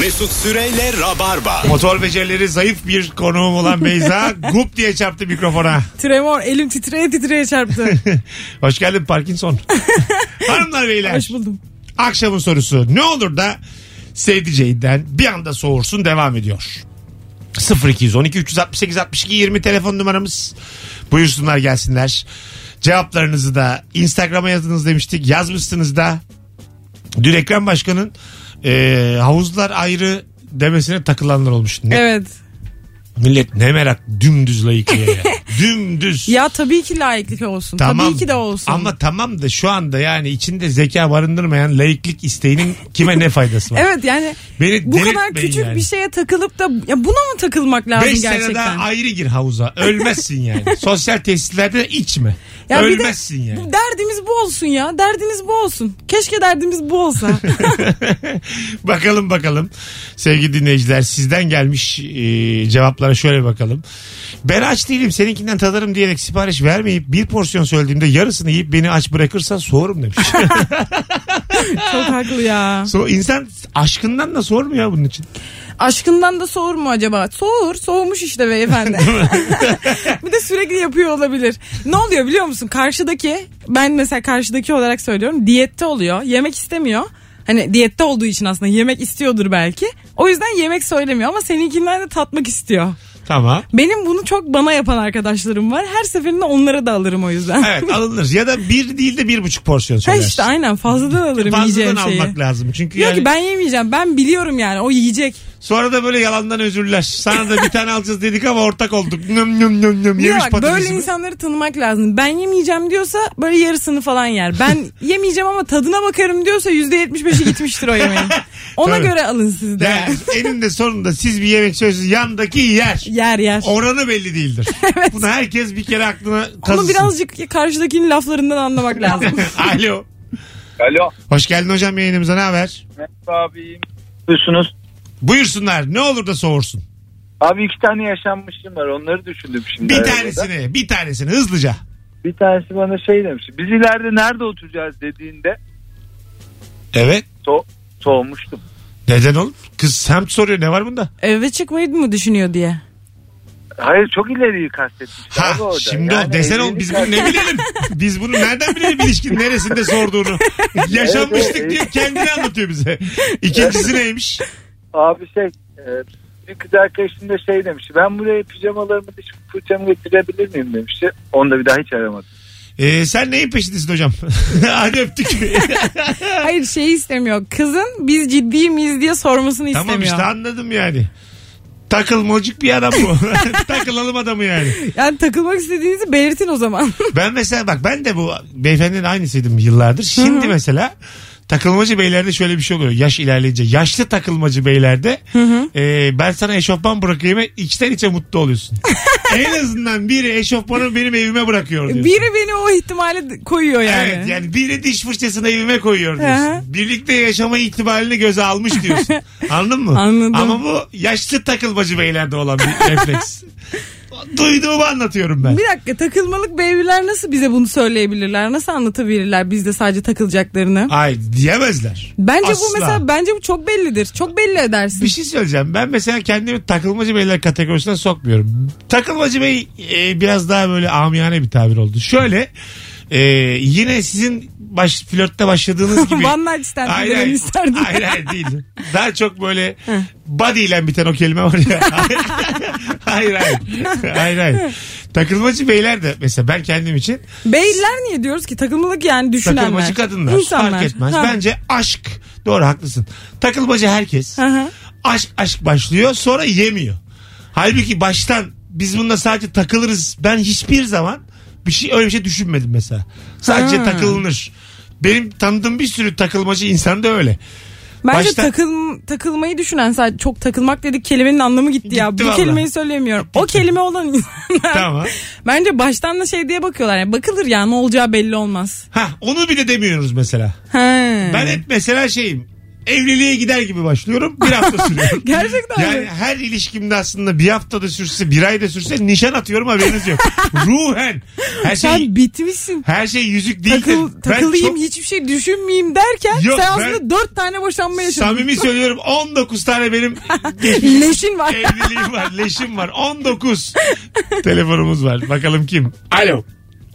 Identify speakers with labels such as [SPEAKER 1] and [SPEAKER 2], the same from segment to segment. [SPEAKER 1] Mesut Süreyle Rabarba.
[SPEAKER 2] Motor becerileri zayıf bir konuğum olan Beyza gup diye çarptı mikrofona.
[SPEAKER 3] Tremor elim titreye titreye çarptı.
[SPEAKER 2] Hoş geldin Parkinson. Hanımlar beyler.
[SPEAKER 3] Hoş buldum.
[SPEAKER 2] Akşamın sorusu ne olur da sevdiceğinden bir anda soğursun devam ediyor. 0212 368 62 20 telefon numaramız. Buyursunlar gelsinler. Cevaplarınızı da Instagram'a yazınız demiştik. Yazmışsınız da. Dün Ekrem Başkan'ın e, havuzlar ayrı demesine takılanlar olmuş. Ne,
[SPEAKER 3] Evet.
[SPEAKER 2] Millet ne merak dümdüz layıklığa ya. dümdüz.
[SPEAKER 3] Ya tabii ki layıklık olsun. Tabii ki de olsun.
[SPEAKER 2] Ama tamam da şu anda yani içinde zeka barındırmayan laiklik isteğinin kime ne faydası var?
[SPEAKER 3] Evet yani
[SPEAKER 2] Beni
[SPEAKER 3] bu kadar
[SPEAKER 2] delirtmeyin
[SPEAKER 3] küçük
[SPEAKER 2] yani.
[SPEAKER 3] bir şeye takılıp da ya buna mı takılmak lazım
[SPEAKER 2] 5 sene daha
[SPEAKER 3] gerçekten?
[SPEAKER 2] ayrı gir havuza. Ölmezsin yani. Sosyal tesislerde içme.
[SPEAKER 3] Ya bir de
[SPEAKER 2] Ölmezsin yani.
[SPEAKER 3] bu Derdimiz bu olsun ya. Derdiniz bu olsun. Keşke derdimiz bu olsa.
[SPEAKER 2] bakalım bakalım. Sevgili dinleyiciler sizden gelmiş e, cevaplara şöyle bakalım. Ben aç değilim seninkinden tadarım diyerek sipariş vermeyip bir porsiyon söylediğimde yarısını yiyip beni aç bırakırsan soğurum demiş.
[SPEAKER 3] Çok haklı ya.
[SPEAKER 2] so, insan aşkından da sormuyor bunun için.
[SPEAKER 3] Aşkından da soğur mu acaba? Soğur. Soğumuş işte beyefendi. bir de sürekli yapıyor olabilir. Ne oluyor biliyor musun? Karşıdaki ben mesela karşıdaki olarak söylüyorum. Diyette oluyor. Yemek istemiyor. Hani diyette olduğu için aslında yemek istiyordur belki. O yüzden yemek söylemiyor ama seninkinden de tatmak istiyor.
[SPEAKER 2] Tamam.
[SPEAKER 3] Benim bunu çok bana yapan arkadaşlarım var. Her seferinde onlara da alırım o yüzden.
[SPEAKER 2] Evet alınır. Ya da bir değil de bir buçuk porsiyon
[SPEAKER 3] Ha
[SPEAKER 2] söylersin.
[SPEAKER 3] işte aynen fazladan alırım
[SPEAKER 2] Fazladan
[SPEAKER 3] yiyeceğim şeyi.
[SPEAKER 2] almak lazım. Çünkü
[SPEAKER 3] Diyor
[SPEAKER 2] yani
[SPEAKER 3] ki ben yemeyeceğim. Ben biliyorum yani o yiyecek.
[SPEAKER 2] sonra da böyle yalandan özürler. Sana da bir tane alacağız dedik ama ortak olduk. Nüm nüm nüm nüm
[SPEAKER 3] Bir de
[SPEAKER 2] yemiş
[SPEAKER 3] bak böyle
[SPEAKER 2] patatesimi.
[SPEAKER 3] insanları tanımak lazım. Ben yemeyeceğim diyorsa böyle yarısını falan yer. Ben yemeyeceğim ama tadına bakarım diyorsa %75'i gitmiştir o yemeğin. Ona
[SPEAKER 2] Tabii.
[SPEAKER 3] göre alın siz de.
[SPEAKER 2] Yani eninde sonunda siz bir yemek söylüyorsunuz yandaki yer.
[SPEAKER 3] Yer yer.
[SPEAKER 2] Oranı belli değildir. Bunu herkes bir kere aklına kazısın.
[SPEAKER 3] Onu birazcık karşıdakinin laflarından anlamak lazım.
[SPEAKER 2] Alo.
[SPEAKER 4] Alo.
[SPEAKER 2] Hoş geldin hocam yayınımıza ne haber?
[SPEAKER 4] Merhaba abim. Duysunuz.
[SPEAKER 2] Buyursunlar ne olur da soğursun.
[SPEAKER 4] Abi iki tane yaşanmışım var onları düşündüm şimdi.
[SPEAKER 2] Bir
[SPEAKER 4] arabada.
[SPEAKER 2] tanesini bir tanesini hızlıca.
[SPEAKER 4] Bir tanesi bana şey demiş. Biz ileride nerede oturacağız dediğinde
[SPEAKER 2] Evet.
[SPEAKER 4] so soğumuştum.
[SPEAKER 2] Neden oğlum? Kız semt soruyor ne var bunda?
[SPEAKER 3] Eve çıkmayı mı düşünüyor diye.
[SPEAKER 4] Hayır çok ileriyi kastetmiş.
[SPEAKER 2] Ha
[SPEAKER 4] abi orada.
[SPEAKER 2] şimdi
[SPEAKER 4] Yani
[SPEAKER 2] o desen
[SPEAKER 4] evlilik
[SPEAKER 2] oğlum biz bunu ne
[SPEAKER 4] kastetmiş.
[SPEAKER 2] bilelim? Biz bunu nereden bilelim ilişkinin neresinde sorduğunu? Yaşanmıştık
[SPEAKER 4] evet.
[SPEAKER 2] diye kendini anlatıyor bize. İkincisi neymiş?
[SPEAKER 4] Abi şey e, bir kız arkadaşım da şey demiş. Ben buraya pijamalarımı diş fırçamı getirebilir miyim demişti. Onu da bir daha hiç aramadım.
[SPEAKER 2] Ee, sen neyin peşindesin hocam? Hadi öptük.
[SPEAKER 3] Hayır şey istemiyor. Kızın biz ciddi miyiz diye sormasını
[SPEAKER 2] tamam
[SPEAKER 3] istemiyor.
[SPEAKER 2] işte anladım yani. Takılmacık bir adam bu. Takılalım adamı yani.
[SPEAKER 3] Yani takılmak istediğinizi belirtin o zaman.
[SPEAKER 2] Ben mesela bak ben de bu beyefendinin aynısıydım yıllardır. Şimdi mesela takılmacı beylerde şöyle bir şey oluyor. Yaş ilerleyince yaşlı takılmacı beylerde e, ben sana eşofman bırakayım ve içten içe mutlu oluyorsun. en azından biri eşofmanı benim evime bırakıyor diyorsun.
[SPEAKER 3] Biri beni o ihtimale d- koyuyor yani.
[SPEAKER 2] Evet yani biri diş fırçasını evime koyuyor diyorsun.
[SPEAKER 3] Hı
[SPEAKER 2] Birlikte yaşama ihtimalini göze almış diyorsun. Anladın mı?
[SPEAKER 3] Anladım.
[SPEAKER 2] Ama bu yaşlı takılmacı beylerde olan bir refleks. Duyduğumu anlatıyorum ben.
[SPEAKER 3] Bir dakika takılmalık beybiler nasıl bize bunu söyleyebilirler? Nasıl anlatabilirler bizde sadece takılacaklarını?
[SPEAKER 2] Ay diyemezler.
[SPEAKER 3] Bence
[SPEAKER 2] Asla.
[SPEAKER 3] bu mesela bence bu çok bellidir. Çok belli edersin.
[SPEAKER 2] Bir şey söyleyeceğim. Ben mesela kendimi takılmacı beyler kategorisine sokmuyorum. Takılmacı bey e, biraz daha böyle amiyane bir tabir oldu. Şöyle e, yine sizin baş, flörtte başladığınız gibi.
[SPEAKER 3] One night stand mi dememi isterdin?
[SPEAKER 2] hayır, hayır değil. Daha çok böyle body ile biten o kelime var ya. hayır hayır. hayır hayır. Takılmacı beyler de mesela ben kendim için
[SPEAKER 3] Beyler niye diyoruz ki takılmalık yani düşünenler.
[SPEAKER 2] şey- takılmacı kadınlar
[SPEAKER 3] İnsanlar.
[SPEAKER 2] fark etmez.
[SPEAKER 3] Ha.
[SPEAKER 2] Bence aşk doğru haklısın. Takılmacı herkes.
[SPEAKER 3] Hı hı.
[SPEAKER 2] aşk aşk başlıyor sonra yemiyor. Halbuki baştan biz bununla sadece takılırız. Ben hiçbir zaman bir şey öyle bir şey düşünmedim mesela. Sadece
[SPEAKER 3] Ha.
[SPEAKER 2] takılınır. Benim tanıdığım bir sürü takılmacı insan da öyle.
[SPEAKER 3] Bence
[SPEAKER 2] Başta-
[SPEAKER 3] takıl, takılmayı düşünen sadece çok takılmak dedik kelimenin anlamı gitti, ya.
[SPEAKER 2] Gitti
[SPEAKER 3] Bu
[SPEAKER 2] vallahi.
[SPEAKER 3] kelimeyi söylemiyorum. O kelime olan insanlar.
[SPEAKER 2] Tamam.
[SPEAKER 3] Bence baştan da şey diye bakıyorlar. Yani bakılır ya ne olacağı belli olmaz.
[SPEAKER 2] Ha onu bile demiyoruz mesela.
[SPEAKER 3] He.
[SPEAKER 2] Ben hep mesela şeyim. evliliğe gider gibi başlıyorum. Bir hafta sürüyor.
[SPEAKER 3] Gerçekten
[SPEAKER 2] Yani
[SPEAKER 3] mi?
[SPEAKER 2] her ilişkimde aslında bir hafta da sürse bir ay da sürse nişan atıyorum haberiniz yok. Ruhen. Her şey,
[SPEAKER 3] Sen bitmişsin.
[SPEAKER 2] her şey yüzük değil. de
[SPEAKER 3] Takıl,
[SPEAKER 2] ben
[SPEAKER 3] takılayım
[SPEAKER 2] çok-
[SPEAKER 3] hiçbir şey düşünmeyeyim derken
[SPEAKER 2] Yok,
[SPEAKER 3] sen
[SPEAKER 2] ben-
[SPEAKER 3] aslında dört tane boşanma yaşadın.
[SPEAKER 2] Samimi söylüyorum 19 tane benim
[SPEAKER 3] Leşin var.
[SPEAKER 2] evliliğim var, leşim var. 19 telefonumuz var. Bakalım kim? Alo.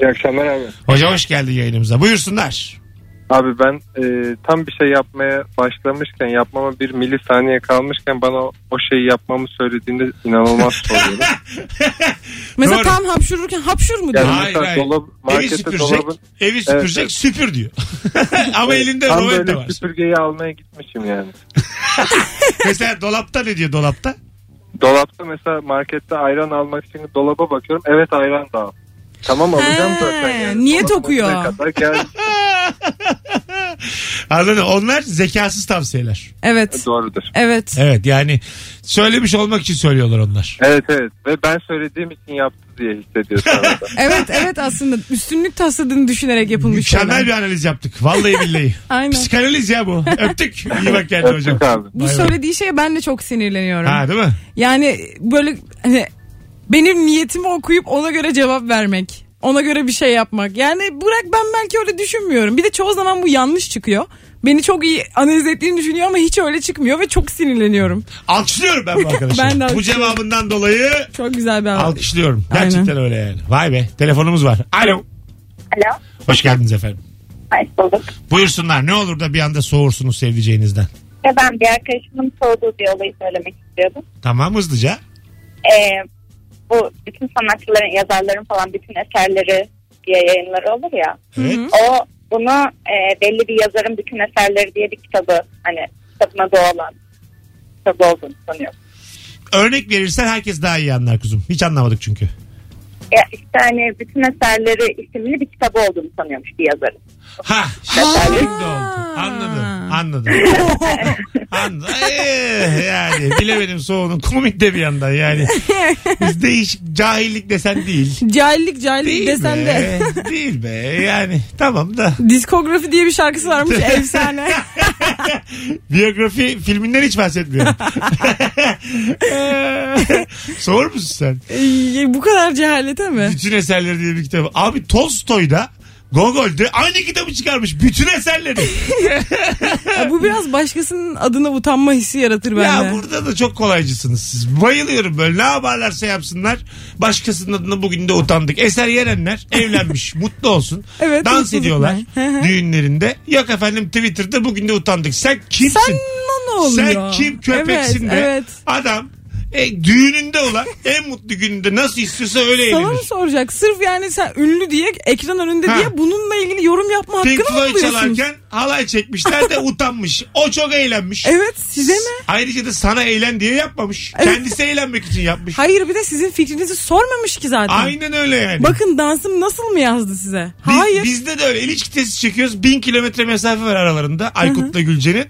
[SPEAKER 4] İyi akşamlar abi.
[SPEAKER 2] Hoca hoş geldin yayınımıza. Buyursunlar.
[SPEAKER 5] Abi ben e, tam bir şey yapmaya başlamışken yapmama bir milisaniye kalmışken bana o, o şeyi yapmamı söylediğinde inanılmaz soruyorum.
[SPEAKER 3] Mesela
[SPEAKER 2] Doğru.
[SPEAKER 3] tam hapşururken hapşur mu diyor?
[SPEAKER 5] Yani
[SPEAKER 2] Hayır,
[SPEAKER 5] mesela
[SPEAKER 2] hayır.
[SPEAKER 5] dolap,
[SPEAKER 2] Evi
[SPEAKER 5] markette
[SPEAKER 2] süpürecek,
[SPEAKER 5] dolabın
[SPEAKER 2] evi süpürecek
[SPEAKER 5] evet.
[SPEAKER 2] süpür diyor. Ama elinde
[SPEAKER 5] tam
[SPEAKER 2] rovet de
[SPEAKER 5] böyle şey.
[SPEAKER 2] var.
[SPEAKER 5] süpürgeyi almaya gitmişim yani.
[SPEAKER 2] Mesela dolapta ne diyor dolapta?
[SPEAKER 5] Dolapta mesela markette ayran almak için dolaba bakıyorum. Evet ayran da al. Tamam alacağım
[SPEAKER 3] He,
[SPEAKER 5] zaten. Yani.
[SPEAKER 3] niyet
[SPEAKER 5] Dolabın
[SPEAKER 3] okuyor.
[SPEAKER 5] önüne Kadar gel.
[SPEAKER 2] Anladın mı? Onlar zekasız tavsiyeler.
[SPEAKER 3] Evet.
[SPEAKER 5] Doğrudur.
[SPEAKER 3] Evet.
[SPEAKER 2] Evet yani söylemiş olmak için söylüyorlar onlar.
[SPEAKER 5] Evet evet ve ben söylediğim için yaptı diye hissediyorsun arada.
[SPEAKER 3] Evet evet aslında üstünlük tasladığını düşünerek yapılmış
[SPEAKER 2] Mükemmel
[SPEAKER 3] şeyler.
[SPEAKER 2] bir analiz yaptık. Vallahi billahi.
[SPEAKER 3] Aynen.
[SPEAKER 2] Psikanaliz ya bu. Öptük. İyi bak kendine
[SPEAKER 5] Öptük
[SPEAKER 2] hocam.
[SPEAKER 5] abi.
[SPEAKER 3] Bu
[SPEAKER 2] Bay bay.
[SPEAKER 3] söylediği şeye ben de çok sinirleniyorum.
[SPEAKER 2] Ha değil mi?
[SPEAKER 3] Yani böyle hani, benim niyetimi okuyup ona göre cevap vermek. Ona göre bir şey yapmak. Yani bırak ben belki öyle düşünmüyorum. Bir de çoğu zaman bu yanlış çıkıyor. Beni çok iyi analiz ettiğini düşünüyor ama hiç öyle çıkmıyor ve çok sinirleniyorum.
[SPEAKER 2] Alkışlıyorum ben bu arkadaşı.
[SPEAKER 3] Ben de
[SPEAKER 2] bu
[SPEAKER 3] alkışlıyorum.
[SPEAKER 2] cevabından dolayı
[SPEAKER 3] Çok güzel bir haber.
[SPEAKER 2] alkışlıyorum. Gerçekten
[SPEAKER 3] Aynen.
[SPEAKER 2] öyle yani. Vay be. Telefonumuz var. Alo.
[SPEAKER 6] Alo.
[SPEAKER 2] Hoş geldiniz efendim.
[SPEAKER 6] Hoş bulduk.
[SPEAKER 2] Buyursunlar. Ne olur da bir anda soğursunuz sevdiceğinizden.
[SPEAKER 6] Ve ben bir arkadaşımın sorduğu bir olayı söylemek istiyordum.
[SPEAKER 2] Tamam hızlıca.
[SPEAKER 6] Ee, bu bütün sanatçıların, yazarların falan bütün eserleri diye yayınları olur ya.
[SPEAKER 2] Evet.
[SPEAKER 6] O bunu e, belli bir yazarın bütün eserleri diye bir kitabı hani kitabına doğalan kitabı olduğunu sanıyorum.
[SPEAKER 2] Örnek verirsen herkes daha iyi anlar kuzum. Hiç anlamadık çünkü.
[SPEAKER 6] Ya işte hani bütün eserleri isimli bir kitabı olduğunu sanıyormuş bir yazarın.
[SPEAKER 2] Ha. Şimdi oldu. Anladım. Anladım. Anladım. Eh, yani bilemedim soğunun komik de bir yandan yani. Biz değişik cahillik desen değil.
[SPEAKER 3] Cahillik cahillik
[SPEAKER 2] Değil
[SPEAKER 3] desen
[SPEAKER 2] be.
[SPEAKER 3] de.
[SPEAKER 2] Değil be yani tamam da.
[SPEAKER 3] Diskografi diye bir şarkısı varmış efsane.
[SPEAKER 2] Biyografi filminden hiç bahsetmiyorum. Soğur musun sen?
[SPEAKER 3] Ee, bu kadar cehalete mi?
[SPEAKER 2] Bütün eserleri diye bir kitabı. Abi Tolstoy'da Gogol'de aynı kitabı çıkarmış. Bütün eserleri.
[SPEAKER 3] Ya bu biraz başkasının adına utanma hissi yaratır bende.
[SPEAKER 2] Ya burada da çok kolaycısınız siz. Bayılıyorum böyle. Ne yaparlarsa yapsınlar. Başkasının adına bugün de utandık. Eser yenenler evlenmiş. mutlu olsun.
[SPEAKER 3] Evet,
[SPEAKER 2] Dans
[SPEAKER 3] mutluluklar.
[SPEAKER 2] ediyorlar
[SPEAKER 3] Hı hı.
[SPEAKER 2] düğünlerinde. Yok efendim Twitter'da bugün de utandık. Sen kimsin?
[SPEAKER 3] Sen ne oluyor?
[SPEAKER 2] Sen kim köpeksin
[SPEAKER 3] evet,
[SPEAKER 2] be?
[SPEAKER 3] Evet.
[SPEAKER 2] Adam e, düğününde olan en mutlu gününde nasıl istiyorsa öyle
[SPEAKER 3] Sana mı
[SPEAKER 2] eğlenir.
[SPEAKER 3] soracak? Sırf yani sen ünlü diye ekran önünde
[SPEAKER 2] Ha.
[SPEAKER 3] diye bununla ilgili yorum yapma hakkını
[SPEAKER 2] Pink
[SPEAKER 3] mı
[SPEAKER 2] Floyd
[SPEAKER 3] buluyorsun?
[SPEAKER 2] çalarken halay çekmişler de utanmış. O çok eğlenmiş.
[SPEAKER 3] Evet size mi?
[SPEAKER 2] Ayrıca da sana eğlen diye yapmamış. Kendisi eğlenmek için yapmış.
[SPEAKER 3] Hayır bir de sizin fikrinizi sormamış ki zaten.
[SPEAKER 2] Aynen öyle yani.
[SPEAKER 3] Bakın dansım nasıl mı yazdı size?
[SPEAKER 2] Biz-
[SPEAKER 3] Hayır.
[SPEAKER 2] Bizde de öyle ilişki testi çekiyoruz. Bin kilometre mesafe var aralarında Aykut'la Gülce'nin.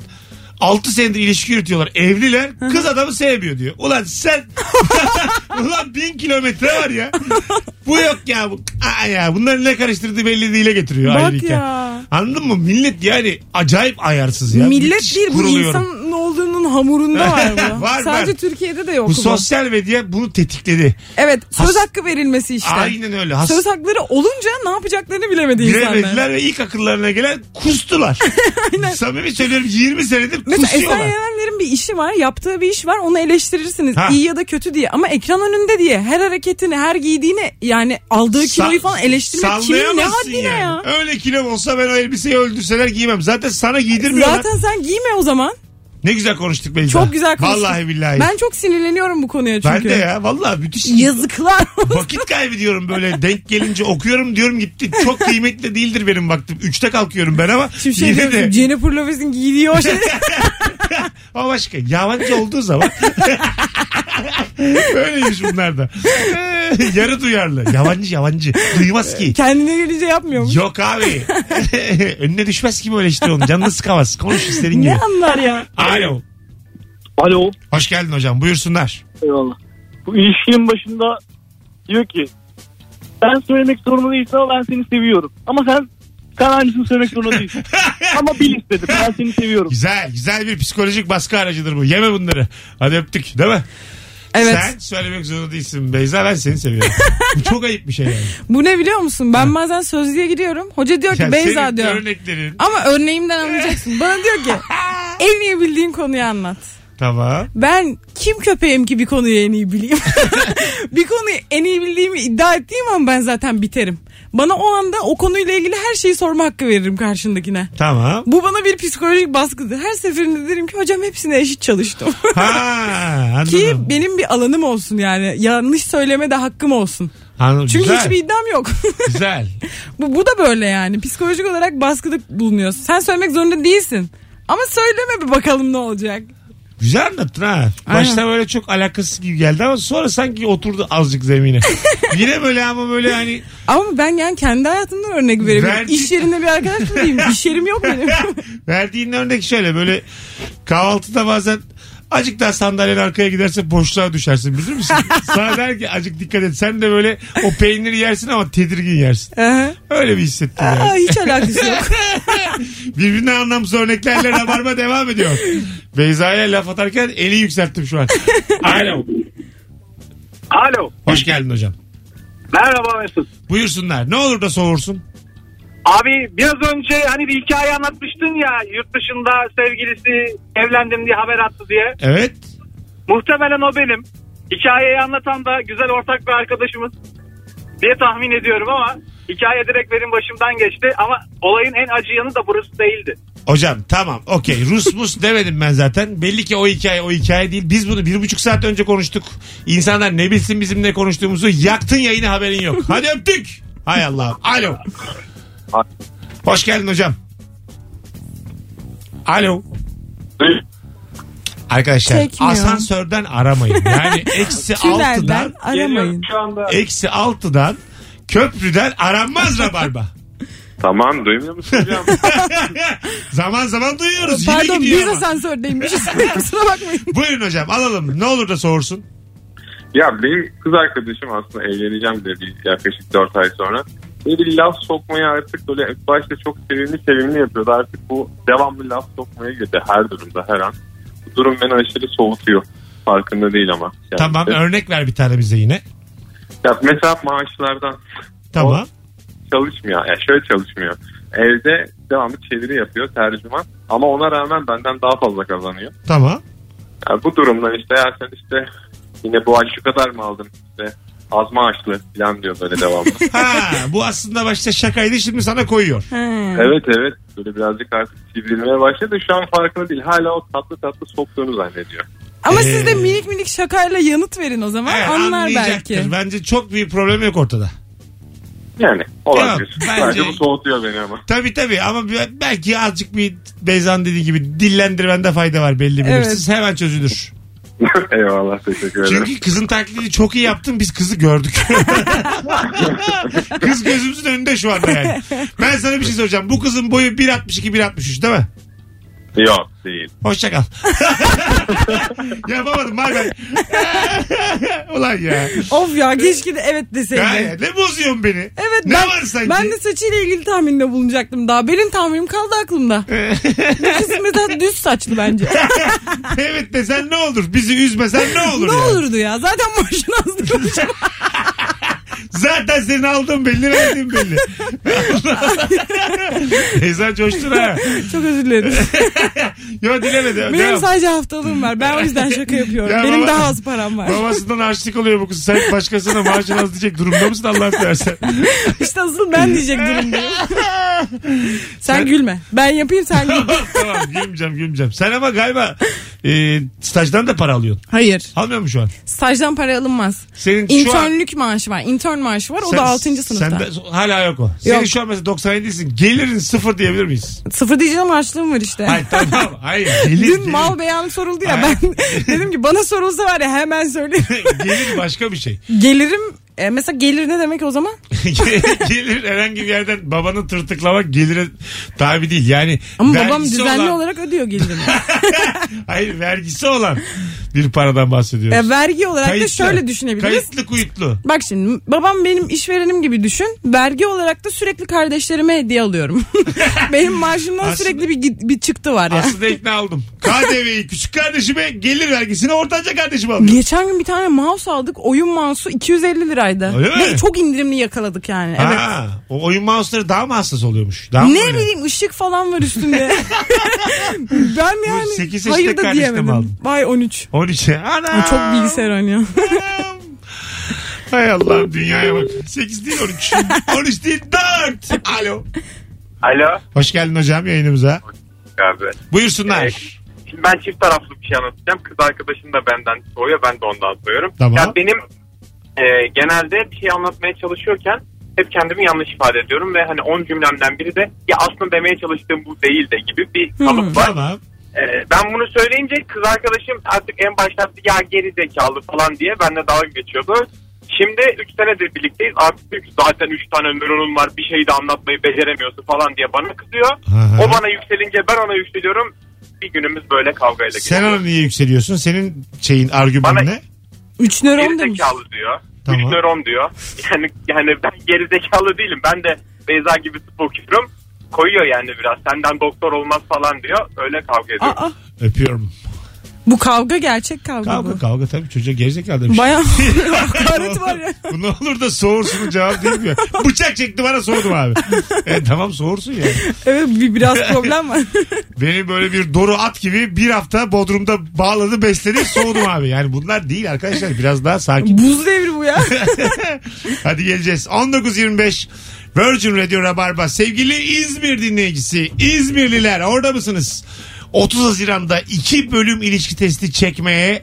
[SPEAKER 2] 6 senedir ilişki yürütüyorlar. Evliler. Kız adamı sevmiyor diyor. Ulan sen ulan bin kilometre var ya. Bu yok ya. Bu. Aa ya. Bunların ne karıştırdığı belli değile getiriyor
[SPEAKER 3] Bak
[SPEAKER 2] ayrıyken.
[SPEAKER 3] ya.
[SPEAKER 2] Anladın mı? Millet yani acayip ayarsız ya.
[SPEAKER 3] Millet
[SPEAKER 2] Müthiş
[SPEAKER 3] değil bu
[SPEAKER 2] kuruluyorum.
[SPEAKER 3] insanın olduğunun hamurunda var bu.
[SPEAKER 2] Var,
[SPEAKER 3] Sadece
[SPEAKER 2] var.
[SPEAKER 3] Türkiye'de de yok bu.
[SPEAKER 2] Bu sosyal medya bunu tetikledi.
[SPEAKER 3] Evet söz
[SPEAKER 2] Has-
[SPEAKER 3] hakkı verilmesi işte.
[SPEAKER 2] Aynen öyle. Has-
[SPEAKER 3] Söz hakları olunca ne yapacaklarını bilemedi insanlar.
[SPEAKER 2] Giremediler ve ilk akıllarına gelen kustular. Samimi söylüyorum 20 senedir
[SPEAKER 3] Mesela
[SPEAKER 2] kusuyorlar.
[SPEAKER 3] Esen Yenenler'in bir işi var. Yaptığı bir iş var. Onu eleştirirsiniz.
[SPEAKER 2] Ha.
[SPEAKER 3] iyi ya da kötü diye. Ama ekran önünde diye. Her hareketini, her giydiğini yani aldığı kiloyu
[SPEAKER 2] Sa-
[SPEAKER 3] falan eleştirmek kimin ne
[SPEAKER 2] sallayamazsın
[SPEAKER 3] haddine ya.
[SPEAKER 2] Öyle kilom olsa ben o elbiseyi öldürseler giymem. Zaten sana giydirmiyorlar.
[SPEAKER 3] Zaten sen giyme o zaman.
[SPEAKER 2] Ne güzel konuştuk Beyza.
[SPEAKER 3] Çok güzel konuştun.
[SPEAKER 2] Vallahi billahi. Ben,
[SPEAKER 3] Ben çok sinirleniyorum bu konuya çünkü.
[SPEAKER 2] de ya vallahi müthiş.
[SPEAKER 3] Yazıklar.
[SPEAKER 2] Vakit kaybediyorum böyle denk gelince okuyorum diyorum gitti. Çok kıymetli değildir benim vaktim. Üçte kalkıyorum ben ama
[SPEAKER 3] Şimdi şey
[SPEAKER 2] yine
[SPEAKER 3] diyorsun,
[SPEAKER 2] de
[SPEAKER 3] Jennifer Lopez'in giydiği o şey.
[SPEAKER 2] ama başka yabancı olduğu zaman öyleymiş bunlar da. Yarı duyarlı. Yabancı yabancı. Duymaz ki.
[SPEAKER 3] Kendine gelince yapmıyormuş.
[SPEAKER 2] Yok abi. Önüne düşmez ki böyle işte onun. Canını sıkamaz. Konuş istediğin gibi.
[SPEAKER 3] Ne anlar ya?
[SPEAKER 2] Alo.
[SPEAKER 7] Alo.
[SPEAKER 2] Hoş geldin hocam. Buyursunlar.
[SPEAKER 7] Eyvallah. Bu ilişkinin başında diyor ki ben söylemek zorunda değilsin ama ben seni seviyorum. Ama sen sen aynısını söylemek zorunda değilsin. Ama bil istedim. Ben seni seviyorum.
[SPEAKER 2] Güzel güzel bir psikolojik baskı aracıdır bu. Yeme bunları. Hadi öptük değil mi?
[SPEAKER 3] Evet.
[SPEAKER 2] Sen söylemek zorunda değilsin Beyza ben seni seviyorum. bu çok ayıp bir şey yani.
[SPEAKER 3] Bu ne biliyor musun? Ben bazen sözlüğe giriyorum. Hoca diyor ki
[SPEAKER 2] Ya
[SPEAKER 3] Beyza
[SPEAKER 2] senin
[SPEAKER 3] diyor.
[SPEAKER 2] örneklerin.
[SPEAKER 3] Ama örneğimden anlayacaksın. Bana diyor ki en iyi bildiğin konuyu anlat.
[SPEAKER 2] Tamam.
[SPEAKER 3] Ben kim köpeğim ki bir konuyu en iyi bileyim? bir konuyu en iyi bildiğimi iddia ettiğim an ben zaten biterim. Bana o anda o konuyla ilgili her şeyi sorma hakkı veririm karşındakine.
[SPEAKER 2] Tamam.
[SPEAKER 3] Bu bana bir psikolojik baskıdır. Her seferinde derim ki hocam hepsine eşit çalıştım.
[SPEAKER 2] Ha,
[SPEAKER 3] ki
[SPEAKER 2] anladım.
[SPEAKER 3] benim bir alanım olsun yani. Yanlış söyleme de hakkım olsun.
[SPEAKER 2] Anladım.
[SPEAKER 3] Çünkü
[SPEAKER 2] güzel.
[SPEAKER 3] hiçbir iddiam yok.
[SPEAKER 2] Güzel.
[SPEAKER 3] bu, bu da böyle yani. Psikolojik olarak baskıda bulunuyorsun. Sen söylemek zorunda değilsin. Ama söyleme bir bakalım ne olacak.
[SPEAKER 2] Güzel anlattın ha. Başta böyle çok alakasız gibi geldi ama sonra sanki oturdu azıcık zemine. Yine böyle ama böyle hani
[SPEAKER 3] Ama ben yani kendi hayatımdan örnek vereyim.
[SPEAKER 2] Verdi-
[SPEAKER 3] İş yerinde bir arkadaş bulayım. İş yerim yok benim.
[SPEAKER 2] verdiğin örnek şöyle böyle kahvaltıda bazen Azıcık daha sandalyenin arkaya giderse boşluğa düşersin bilir misin? Sana der ki azıcık dikkat et. Sen de böyle o peyniri yersin ama tedirgin yersin.
[SPEAKER 3] Aha.
[SPEAKER 2] Öyle bir hissettim
[SPEAKER 3] Aa,
[SPEAKER 2] yani.
[SPEAKER 3] hiç alakası yok.
[SPEAKER 2] Birbirine anlamsız örneklerle rabarba devam ediyor. Beyza'ya laf atarken eli yükselttim şu an. Alo.
[SPEAKER 7] Alo.
[SPEAKER 2] Hoş geldin hocam.
[SPEAKER 7] Merhaba Mesut.
[SPEAKER 2] Buyursunlar. Ne olur da soğursun.
[SPEAKER 7] Abi biraz önce hani bir hikaye anlatmıştın ya yurt dışında sevgilisi evlendim diye haber attı diye.
[SPEAKER 2] Evet.
[SPEAKER 7] Muhtemelen o benim. Hikayeyi anlatan da güzel ortak bir arkadaşımız diye tahmin ediyorum ama hikaye direkt benim başımdan geçti. Ama olayın en acı yanı da burası değildi.
[SPEAKER 2] Hocam tamam okey Rus mus demedim ben zaten. Belli ki o hikaye o hikaye değil. Biz bunu bir buçuk saat önce konuştuk. İnsanlar ne bilsin bizim ne konuştuğumuzu. Yaktın yayını haberin yok. Hadi öptük. Hay Allah'ım. Alo. Hoş geldin hocam. Alo. Arkadaşlar
[SPEAKER 3] Çekmiyor.
[SPEAKER 2] asansörden aramayın. Yani eksi
[SPEAKER 3] Tünelden
[SPEAKER 2] altıdan
[SPEAKER 3] aramayın.
[SPEAKER 7] şu anda.
[SPEAKER 2] eksi altıdan köprüden aranmaz rabarba.
[SPEAKER 8] Tamam duymuyor musun hocam?
[SPEAKER 2] zaman zaman duyuyoruz. Yine
[SPEAKER 3] Pardon
[SPEAKER 2] gidiyor
[SPEAKER 3] biz
[SPEAKER 2] ama.
[SPEAKER 3] asansördeymişiz. Kusura bakmayın.
[SPEAKER 2] Buyurun hocam alalım. Ne olur da soğursun.
[SPEAKER 8] ya benim kız arkadaşım aslında evleneceğim dedi yaklaşık 4 ay sonra. Böyle bir laf sokmaya artık böyle ilk başta çok sevimli sevimli yapıyordu. Artık bu devamlı laf sokmaya girdi her durumda her an. Bu durum beni aşırı soğutuyor. Farkında değil ama. Yani
[SPEAKER 2] Tamam
[SPEAKER 8] işte-
[SPEAKER 2] örnek ver bir tane bize yine.
[SPEAKER 8] Ya mesela maaşlardan
[SPEAKER 2] Tamam.
[SPEAKER 8] çalışmıyor. Yani şöyle çalışmıyor. Evde devamlı çeviri yapıyor tercüman. Ama ona rağmen benden daha fazla kazanıyor.
[SPEAKER 2] Tamam.
[SPEAKER 8] Yani bu durumdan işte ya sen işte yine bu ay şu kadar mı aldın işte az maaşlı falan diyor böyle devamlı.
[SPEAKER 2] Ha bu aslında başta şakaydı şimdi sana koyuyor.
[SPEAKER 8] evet evet böyle birazcık artık sivrilmeye başladı şu an farkında değil. Hala o tatlı tatlı soktuğunu zannediyor.
[SPEAKER 3] Ama
[SPEAKER 2] Ee,
[SPEAKER 3] siz de minik minik şakayla yanıt verin o zaman.
[SPEAKER 2] Evet,
[SPEAKER 3] Anlar
[SPEAKER 2] anlayacaktır.
[SPEAKER 3] belki.
[SPEAKER 2] Bence çok büyük problem yok ortada.
[SPEAKER 8] Yani olabilir.
[SPEAKER 2] Yok, bence-
[SPEAKER 8] bence... bu soğutuyor beni ama.
[SPEAKER 2] Tabii tabii ama bir- belki azıcık bir Beyzan dediği gibi dillendirmende fayda var belli
[SPEAKER 3] Evet.
[SPEAKER 2] belirsiz. Hemen çözülür.
[SPEAKER 8] Eyvallah teşekkür ederim.
[SPEAKER 2] Çünkü kızın taklidini çok iyi yaptın biz kızı gördük. Kız gözümüzün önünde şu anda yani. Ben sana bir şey soracağım. Bu kızın boyu 1.62-1.63 değil mi?
[SPEAKER 8] Yok değil.
[SPEAKER 2] Hoşça kal. Yapamadım bay bay. Ulan ya.
[SPEAKER 3] Of ya keşke de evet deseydi.
[SPEAKER 2] ya. Ne bozuyorsun beni?
[SPEAKER 3] Evet
[SPEAKER 2] ne
[SPEAKER 3] ben,
[SPEAKER 2] var sanki?
[SPEAKER 3] ben de saçıyla ilgili tahminde bulunacaktım daha. Benim tahminim kaldı aklımda. Bu kız mesela düz saçlı bence.
[SPEAKER 2] evet desen ne olur? Bizi üzmesen ne olur?
[SPEAKER 3] ne
[SPEAKER 2] ya?
[SPEAKER 3] olurdu ya zaten maaşın az diyormuş.
[SPEAKER 2] Zaten senin aldığın belli verdiğin belli. Teyzen coştun ha.
[SPEAKER 3] Çok özür dilerim.
[SPEAKER 2] Yo dilemedi.
[SPEAKER 3] Benim
[SPEAKER 2] Devam.
[SPEAKER 3] sadece haftalığım var. Ben o yüzden şaka yapıyorum.
[SPEAKER 2] Ya
[SPEAKER 3] Benim
[SPEAKER 2] baba-
[SPEAKER 3] daha az param var.
[SPEAKER 2] Babasından harçlık oluyor bu kız. Sen başkasına maaşın az diyecek durumda mısın Allah'ını seversen?
[SPEAKER 3] İşte asıl ben diyecek durumdayım. sen gülme. Ben yapayım sen gülme.
[SPEAKER 2] tamam gülmeyeceğim gülmeyeceğim. Sen ama galiba e, stajdan da para alıyorsun.
[SPEAKER 3] Hayır.
[SPEAKER 2] Almıyor mu şu an?
[SPEAKER 3] Stajdan para alınmaz.
[SPEAKER 2] Senin şu an...
[SPEAKER 3] İnternlük maaşı var. İntern maaşı var. O da 6. sınıfta.
[SPEAKER 2] Sen de, hala yok o. Senin şu an mesela 97'sin. Gelirin sıfır diyebilir miyiz?
[SPEAKER 3] Sıfır diyeceğim harçlığım var işte.
[SPEAKER 2] Hayır tamam. Hayır. Gelir,
[SPEAKER 3] Dün
[SPEAKER 2] gelir.
[SPEAKER 3] mal beyanı soruldu ya
[SPEAKER 2] Hayır.
[SPEAKER 3] ben dedim ki bana sorulsa var ya hemen söyleyeyim.
[SPEAKER 2] gelir başka bir şey.
[SPEAKER 3] Gelirim E, mesela gelir ne demek o zaman?
[SPEAKER 2] gelir herhangi bir yerden babanı tırtıklamak gelire tabi değil. Yani
[SPEAKER 3] Ama babam
[SPEAKER 2] vergisi
[SPEAKER 3] düzenli
[SPEAKER 2] olan-
[SPEAKER 3] olarak ödüyor gelirini.
[SPEAKER 2] Hayır vergisi olan bir paradan bahsediyoruz.
[SPEAKER 3] E, vergi olarak da
[SPEAKER 2] Kayıtlı.
[SPEAKER 3] şöyle düşünebiliriz.
[SPEAKER 2] Kayıtlı kuyutlu.
[SPEAKER 3] Bak şimdi babam benim işverenim gibi düşün. Vergi olarak da sürekli kardeşlerime hediye alıyorum. benim maaşımdan
[SPEAKER 2] Aslında-
[SPEAKER 3] sürekli bir, git- bir çıktı var ya.
[SPEAKER 2] Aslında ikna oldum. KDV'yi küçük kardeşime gelir vergisini ortanca kardeşime alıyorum.
[SPEAKER 3] Geçen gün bir tane mouse aldık. Oyun mouse'u 250 liraydı.
[SPEAKER 2] Öyle mi?
[SPEAKER 3] Ve çok indirimli yakaladık yani. Evet.
[SPEAKER 2] Ha, o oyun mouse'ları daha mı hassas oluyormuş? Daha mı
[SPEAKER 3] Ne
[SPEAKER 2] böyle?
[SPEAKER 3] bileyim ışık falan var üstünde. ben yani
[SPEAKER 2] sekiz yaşında
[SPEAKER 3] hayır da
[SPEAKER 2] kardeşine mi aldın?
[SPEAKER 3] diyemedim. Vay 13.
[SPEAKER 2] 13'e. Ana.
[SPEAKER 3] Çok bilgisayar oynuyor.
[SPEAKER 2] Hay Allah dünyaya bak. 8 değil 13. 13 değil 4. Alo.
[SPEAKER 9] Alo.
[SPEAKER 2] Hoş geldin hocam yayınımıza.
[SPEAKER 9] Abi.
[SPEAKER 2] Buyursunlar.
[SPEAKER 9] Ee, Şimdi ben çift taraflı bir şey anlatacağım. Kız arkadaşım da benden soruyor. Ben de ondan soruyorum.
[SPEAKER 2] Tamam.
[SPEAKER 9] Ya benim e, genelde bir şey anlatmaya çalışıyorken hep kendimi yanlış ifade ediyorum ve hani 10 cümlemden biri de ya aslında demeye çalıştığım bu değil de gibi bir kalıp var.
[SPEAKER 2] Hmm. Tamam.
[SPEAKER 9] E, ben bunu söyleyince kız arkadaşım artık en başlarda ya geri zekalı falan diye benimle dalga geçiyordu. Şimdi 3 senedir birlikteyiz. Artık diyor ki, zaten 3 tane nöronun var bir şeyi de anlatmayı beceremiyorsun falan diye bana kızıyor.
[SPEAKER 2] Aha.
[SPEAKER 9] O bana yükselince ben ona yükseliyorum. Bir günümüz böyle kavgayla
[SPEAKER 2] Sen
[SPEAKER 9] geçiyor.
[SPEAKER 2] ona niye yükseliyorsun? Senin şeyin argümanın
[SPEAKER 9] Bana-
[SPEAKER 2] ne?
[SPEAKER 3] 3
[SPEAKER 9] Geri
[SPEAKER 3] nöron demiş.
[SPEAKER 9] zekalı diyor.
[SPEAKER 2] Tamam.
[SPEAKER 9] Üç nöron diyor. Yani yani ben geri zekalı değilim. Ben de Beyza gibi tıp okuyorum. Koyuyor yani biraz. Senden doktor olmaz falan diyor. Öyle kavga ediyor.
[SPEAKER 3] Aa,
[SPEAKER 2] Öpüyorum.
[SPEAKER 3] bu kavga gerçek kavga,
[SPEAKER 2] Kavga
[SPEAKER 3] bu.
[SPEAKER 2] kavga tabii çocuğa gerizekalı şey demiş.
[SPEAKER 3] Bayağı hakaret var ya.
[SPEAKER 2] Bu ne olur da soğursun cevap değil mi? Bıçak çekti bana soğudum abi. E, tamam soğursun yani.
[SPEAKER 3] Evet bir, biraz problem var.
[SPEAKER 2] Beni böyle bir doru at gibi bir hafta Bodrum'da bağladı besledi soğudum abi. Yani bunlar değil arkadaşlar biraz daha sakin.
[SPEAKER 3] Buz devri bu ya.
[SPEAKER 2] Hadi geleceğiz. 19.25 Virgin Radio Rabarba. Sevgili İzmir dinleyicisi, İzmirliler orada mısınız? 30 Haziran'da 2 bölüm ilişki testi çekmeye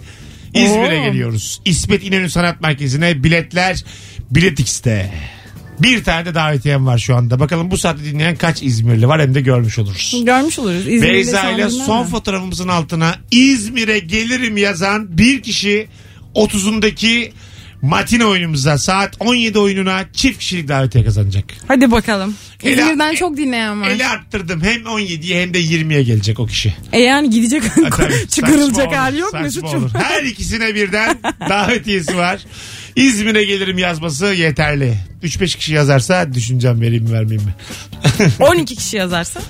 [SPEAKER 2] İzmir'e
[SPEAKER 3] Oo.
[SPEAKER 2] geliyoruz. İsmet İnönü Sanat Merkezi'ne biletler Bilet X'te. Bir tane de davetiyem var şu anda. Bakalım bu saatte dinleyen kaç İzmirli var hem de görmüş oluruz.
[SPEAKER 3] Görmüş oluruz. İzmir'de
[SPEAKER 2] Beyza ile
[SPEAKER 3] insanlar
[SPEAKER 2] son
[SPEAKER 3] var.
[SPEAKER 2] fotoğrafımızın altına İzmir'e gelirim yazan bir kişi 30'undaki matine oyunumuza saat 17 oyununa çift kişilik davetiye kazanacak.
[SPEAKER 3] Hadi bakalım.
[SPEAKER 2] Ela-
[SPEAKER 3] İzmir'den çok dinleyen var.
[SPEAKER 2] Eli arttırdım hem 17'ye hem de 20'ye gelecek o kişi.
[SPEAKER 3] E yani gidecek
[SPEAKER 2] Tabii,
[SPEAKER 3] çıkarılacak
[SPEAKER 2] saçma
[SPEAKER 3] hali
[SPEAKER 2] olur,
[SPEAKER 3] yok
[SPEAKER 2] saçma
[SPEAKER 3] Mesut'cum.
[SPEAKER 2] olur. Her ikisine birden davetiyesi var. İzmir'e gelirim yazması yeterli. 3-5 kişi yazarsa düşüneceğim vereyim mi vermeyeyim mi?
[SPEAKER 3] 12 kişi yazarsa.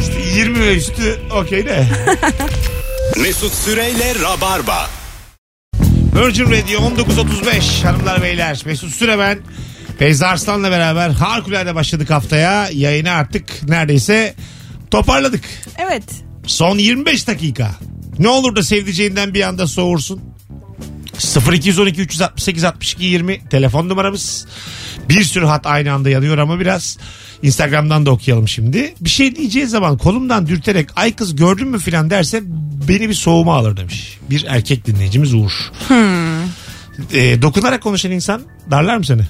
[SPEAKER 2] İşte 20 ve üstü okey de.
[SPEAKER 1] Mesut Süreyle Rabarba.
[SPEAKER 2] Virgin Radio 19.35 hanımlar beyler Mesut Süre ben Beyza Arslan'la beraber harikulade başladık haftaya yayını artık neredeyse toparladık
[SPEAKER 3] Evet.
[SPEAKER 2] son 25 dakika ne olur da sevdiceğinden bir anda soğursun 0212 368 62 20 telefon numaramız bir sürü hat aynı anda yanıyor ama biraz Instagram'dan da okuyalım şimdi. Bir şey diyeceği zaman kolumdan dürterek ay kız gördün mü filan derse beni bir soğuma alır demiş. Bir erkek dinleyicimiz Uğur.
[SPEAKER 3] Hmm.
[SPEAKER 2] E, dokunarak konuşan insan darlar mı seni?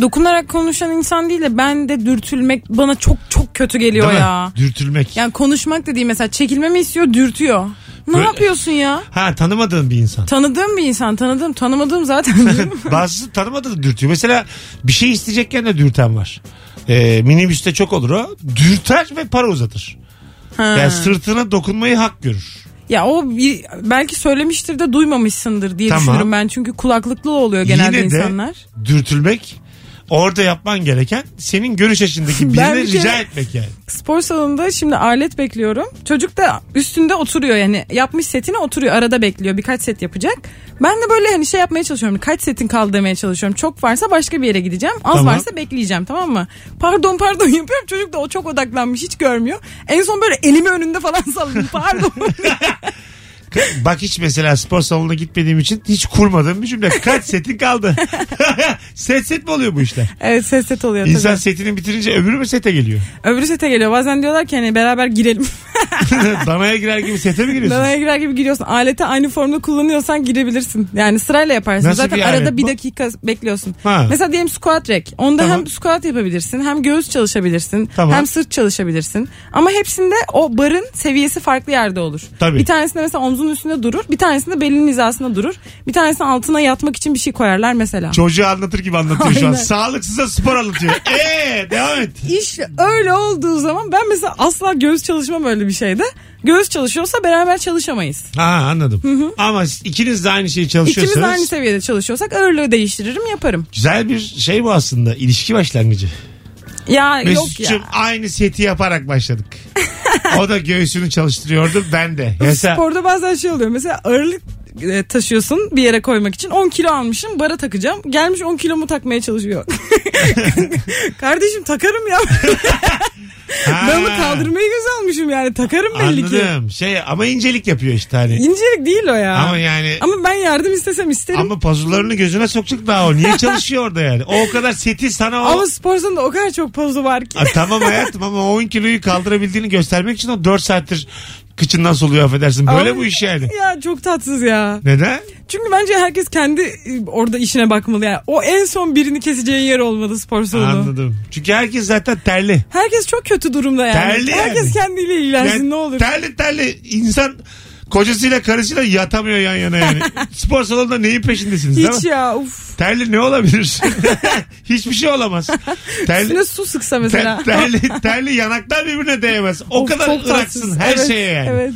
[SPEAKER 3] Dokunarak konuşan insan değil de ben de dürtülmek bana çok çok kötü geliyor
[SPEAKER 2] Değil
[SPEAKER 3] ya.
[SPEAKER 2] mi? Dürtülmek.
[SPEAKER 3] Yani konuşmak dediği mesela çekilmemi istiyor dürtüyor. Ne
[SPEAKER 2] Böyle-
[SPEAKER 3] yapıyorsun ya?
[SPEAKER 2] Ha tanımadığın bir insan.
[SPEAKER 3] Tanıdığım bir insan tanıdığım tanımadığım zaten.
[SPEAKER 2] Bazısı tanımadığı da dürtüyor. Mesela bir şey isteyecekken de dürten var. E, minibüste çok olur o. Dürter ve para uzatır. Yani sırtına dokunmayı hak görür.
[SPEAKER 3] ya o bir, belki söylemiştir de duymamışsındır diye
[SPEAKER 2] Tamam.
[SPEAKER 3] düşünüyorum ben. Çünkü kulaklıklı oluyor genelde
[SPEAKER 2] Yine de
[SPEAKER 3] insanlar.
[SPEAKER 2] dürtülmek orada yapman gereken senin görüş açındaki birine
[SPEAKER 3] Ben bir
[SPEAKER 2] rica
[SPEAKER 3] kere-
[SPEAKER 2] etmek yani.
[SPEAKER 3] Spor salonunda şimdi alet bekliyorum. Çocuk da üstünde oturuyor yani yapmış setine oturuyor. Arada bekliyor birkaç set yapacak. Ben de böyle hani şey yapmaya çalışıyorum. Kaç setin kaldı demeye çalışıyorum. Çok varsa başka bir yere gideceğim. Az
[SPEAKER 2] Tamam.
[SPEAKER 3] varsa bekleyeceğim tamam mı? Pardon pardon yapıyorum. Çocuk da o çok odaklanmış hiç görmüyor. En son böyle elimi önünde falan salladım. Pardon.
[SPEAKER 2] Bak hiç mesela spor salonuna gitmediğim için hiç kurmadığım bir cümle. Kaç setin kaldı? set set mi oluyor bu işler?
[SPEAKER 3] evet ses set oluyor tabii.
[SPEAKER 2] İnsan setini bitirince öbürü mü sete geliyor?
[SPEAKER 3] Öbürü sete geliyor. Bazen diyorlar ki hani beraber girelim.
[SPEAKER 2] Danaya girer gibi sete mi giriyorsun?
[SPEAKER 3] Danaya girer gibi giriyorsun. Aleti aynı formda kullanıyorsan girebilirsin. Yani sırayla yaparsın.
[SPEAKER 2] Nasıl
[SPEAKER 3] Zaten
[SPEAKER 2] bir alet
[SPEAKER 3] arada
[SPEAKER 2] bu?
[SPEAKER 3] bir dakika bekliyorsun.
[SPEAKER 2] Ha.
[SPEAKER 3] Mesela diyelim squat rack. Onda
[SPEAKER 2] Tamam.
[SPEAKER 3] hem squat yapabilirsin, hem göğüs çalışabilirsin,
[SPEAKER 2] Tamam.
[SPEAKER 3] hem sırt çalışabilirsin. Ama hepsinde o barın seviyesi farklı yerde olur.
[SPEAKER 2] Tabii.
[SPEAKER 3] Bir tanesinde mesela omzunun üstünde durur, bir tanesinde belinin hizasında durur. Bir tanesinde altına yatmak için bir şey koyarlar mesela.
[SPEAKER 2] Çocuğu anlatır gibi anlatıyor şu an.
[SPEAKER 3] Aynen.
[SPEAKER 2] Sağlıksıza spor anlatıyor. Eee devam et.
[SPEAKER 3] İş öyle olduğu zaman ben mesela asla göğüs çalışmam öyle bir şeyde. Göğüs çalışıyorsa beraber çalışamayız.
[SPEAKER 2] Ha anladım. Ama ikiniz de aynı şeyi çalışıyorsanız.
[SPEAKER 3] İkimiz de aynı seviyede çalışıyorsak ağırlığı değiştiririm yaparım.
[SPEAKER 2] Güzel bir şey bu aslında. İlişki başlangıcı.
[SPEAKER 3] Ya yok ya.
[SPEAKER 2] Mesut'cum aynı seti yaparak başladık. o da göğsünü çalıştırıyordu ben de. Yasa-
[SPEAKER 3] Sporda bazen şey oluyor. Mesela ağırlık e, taşıyorsun bir yere koymak için 10 kilo almışım bara takacağım gelmiş 10 kilomu takmaya çalışıyor kardeşim takarım ya
[SPEAKER 2] Ha,
[SPEAKER 3] ben onu kaldırmayı göz almışım yani takarım belli ki
[SPEAKER 2] Anladım. Şey ama incelik yapıyor işte hani.
[SPEAKER 3] incelik değil o ya
[SPEAKER 2] Ama
[SPEAKER 3] ama,
[SPEAKER 2] yani
[SPEAKER 3] ben yardım istesem isterim ama,
[SPEAKER 2] ama pazularını gözüne sokacak daha o. Niye çalışıyor orada yani? O, o kadar seti sana o...
[SPEAKER 3] spor salonunda o kadar çok pozu var ki
[SPEAKER 2] Ha, tamam hayatım ama o 10 kiloyu kaldırabildiğini göstermek için o 4 saattir kıçından soluyor affedersin. Böyle
[SPEAKER 3] Ama-
[SPEAKER 2] bu iş yani.
[SPEAKER 3] ya çok tatsız ya
[SPEAKER 2] Neden?
[SPEAKER 3] çünkü bence herkes kendi e, orada işine bakmalı yani o en son birini keseceği yer olmalı spor salonu
[SPEAKER 2] Anladım. Çünkü herkes zaten terli.
[SPEAKER 3] Herkes çok kötü durumda yani.
[SPEAKER 2] Terli yani.
[SPEAKER 3] Herkes kendiyle ilgilensin
[SPEAKER 2] Yani
[SPEAKER 3] ne olur.
[SPEAKER 2] Terli terli insan kocasıyla karısıyla yatamıyor yan yana yani. Spor salonunda neyin peşindesiniz değil
[SPEAKER 3] Hiç
[SPEAKER 2] mi?
[SPEAKER 3] ya uf.
[SPEAKER 2] Terli ne olabilir? Hiçbir şey olamaz. Terli,
[SPEAKER 3] Üstüne su sıksa mesela.
[SPEAKER 2] ter- terli, terli yanaklar birbirine değmez. O
[SPEAKER 3] Of,
[SPEAKER 2] kadar
[SPEAKER 3] çok
[SPEAKER 2] ıraksın
[SPEAKER 3] tatsız.
[SPEAKER 2] her
[SPEAKER 3] Evet,
[SPEAKER 2] şeye yani.
[SPEAKER 3] Evet.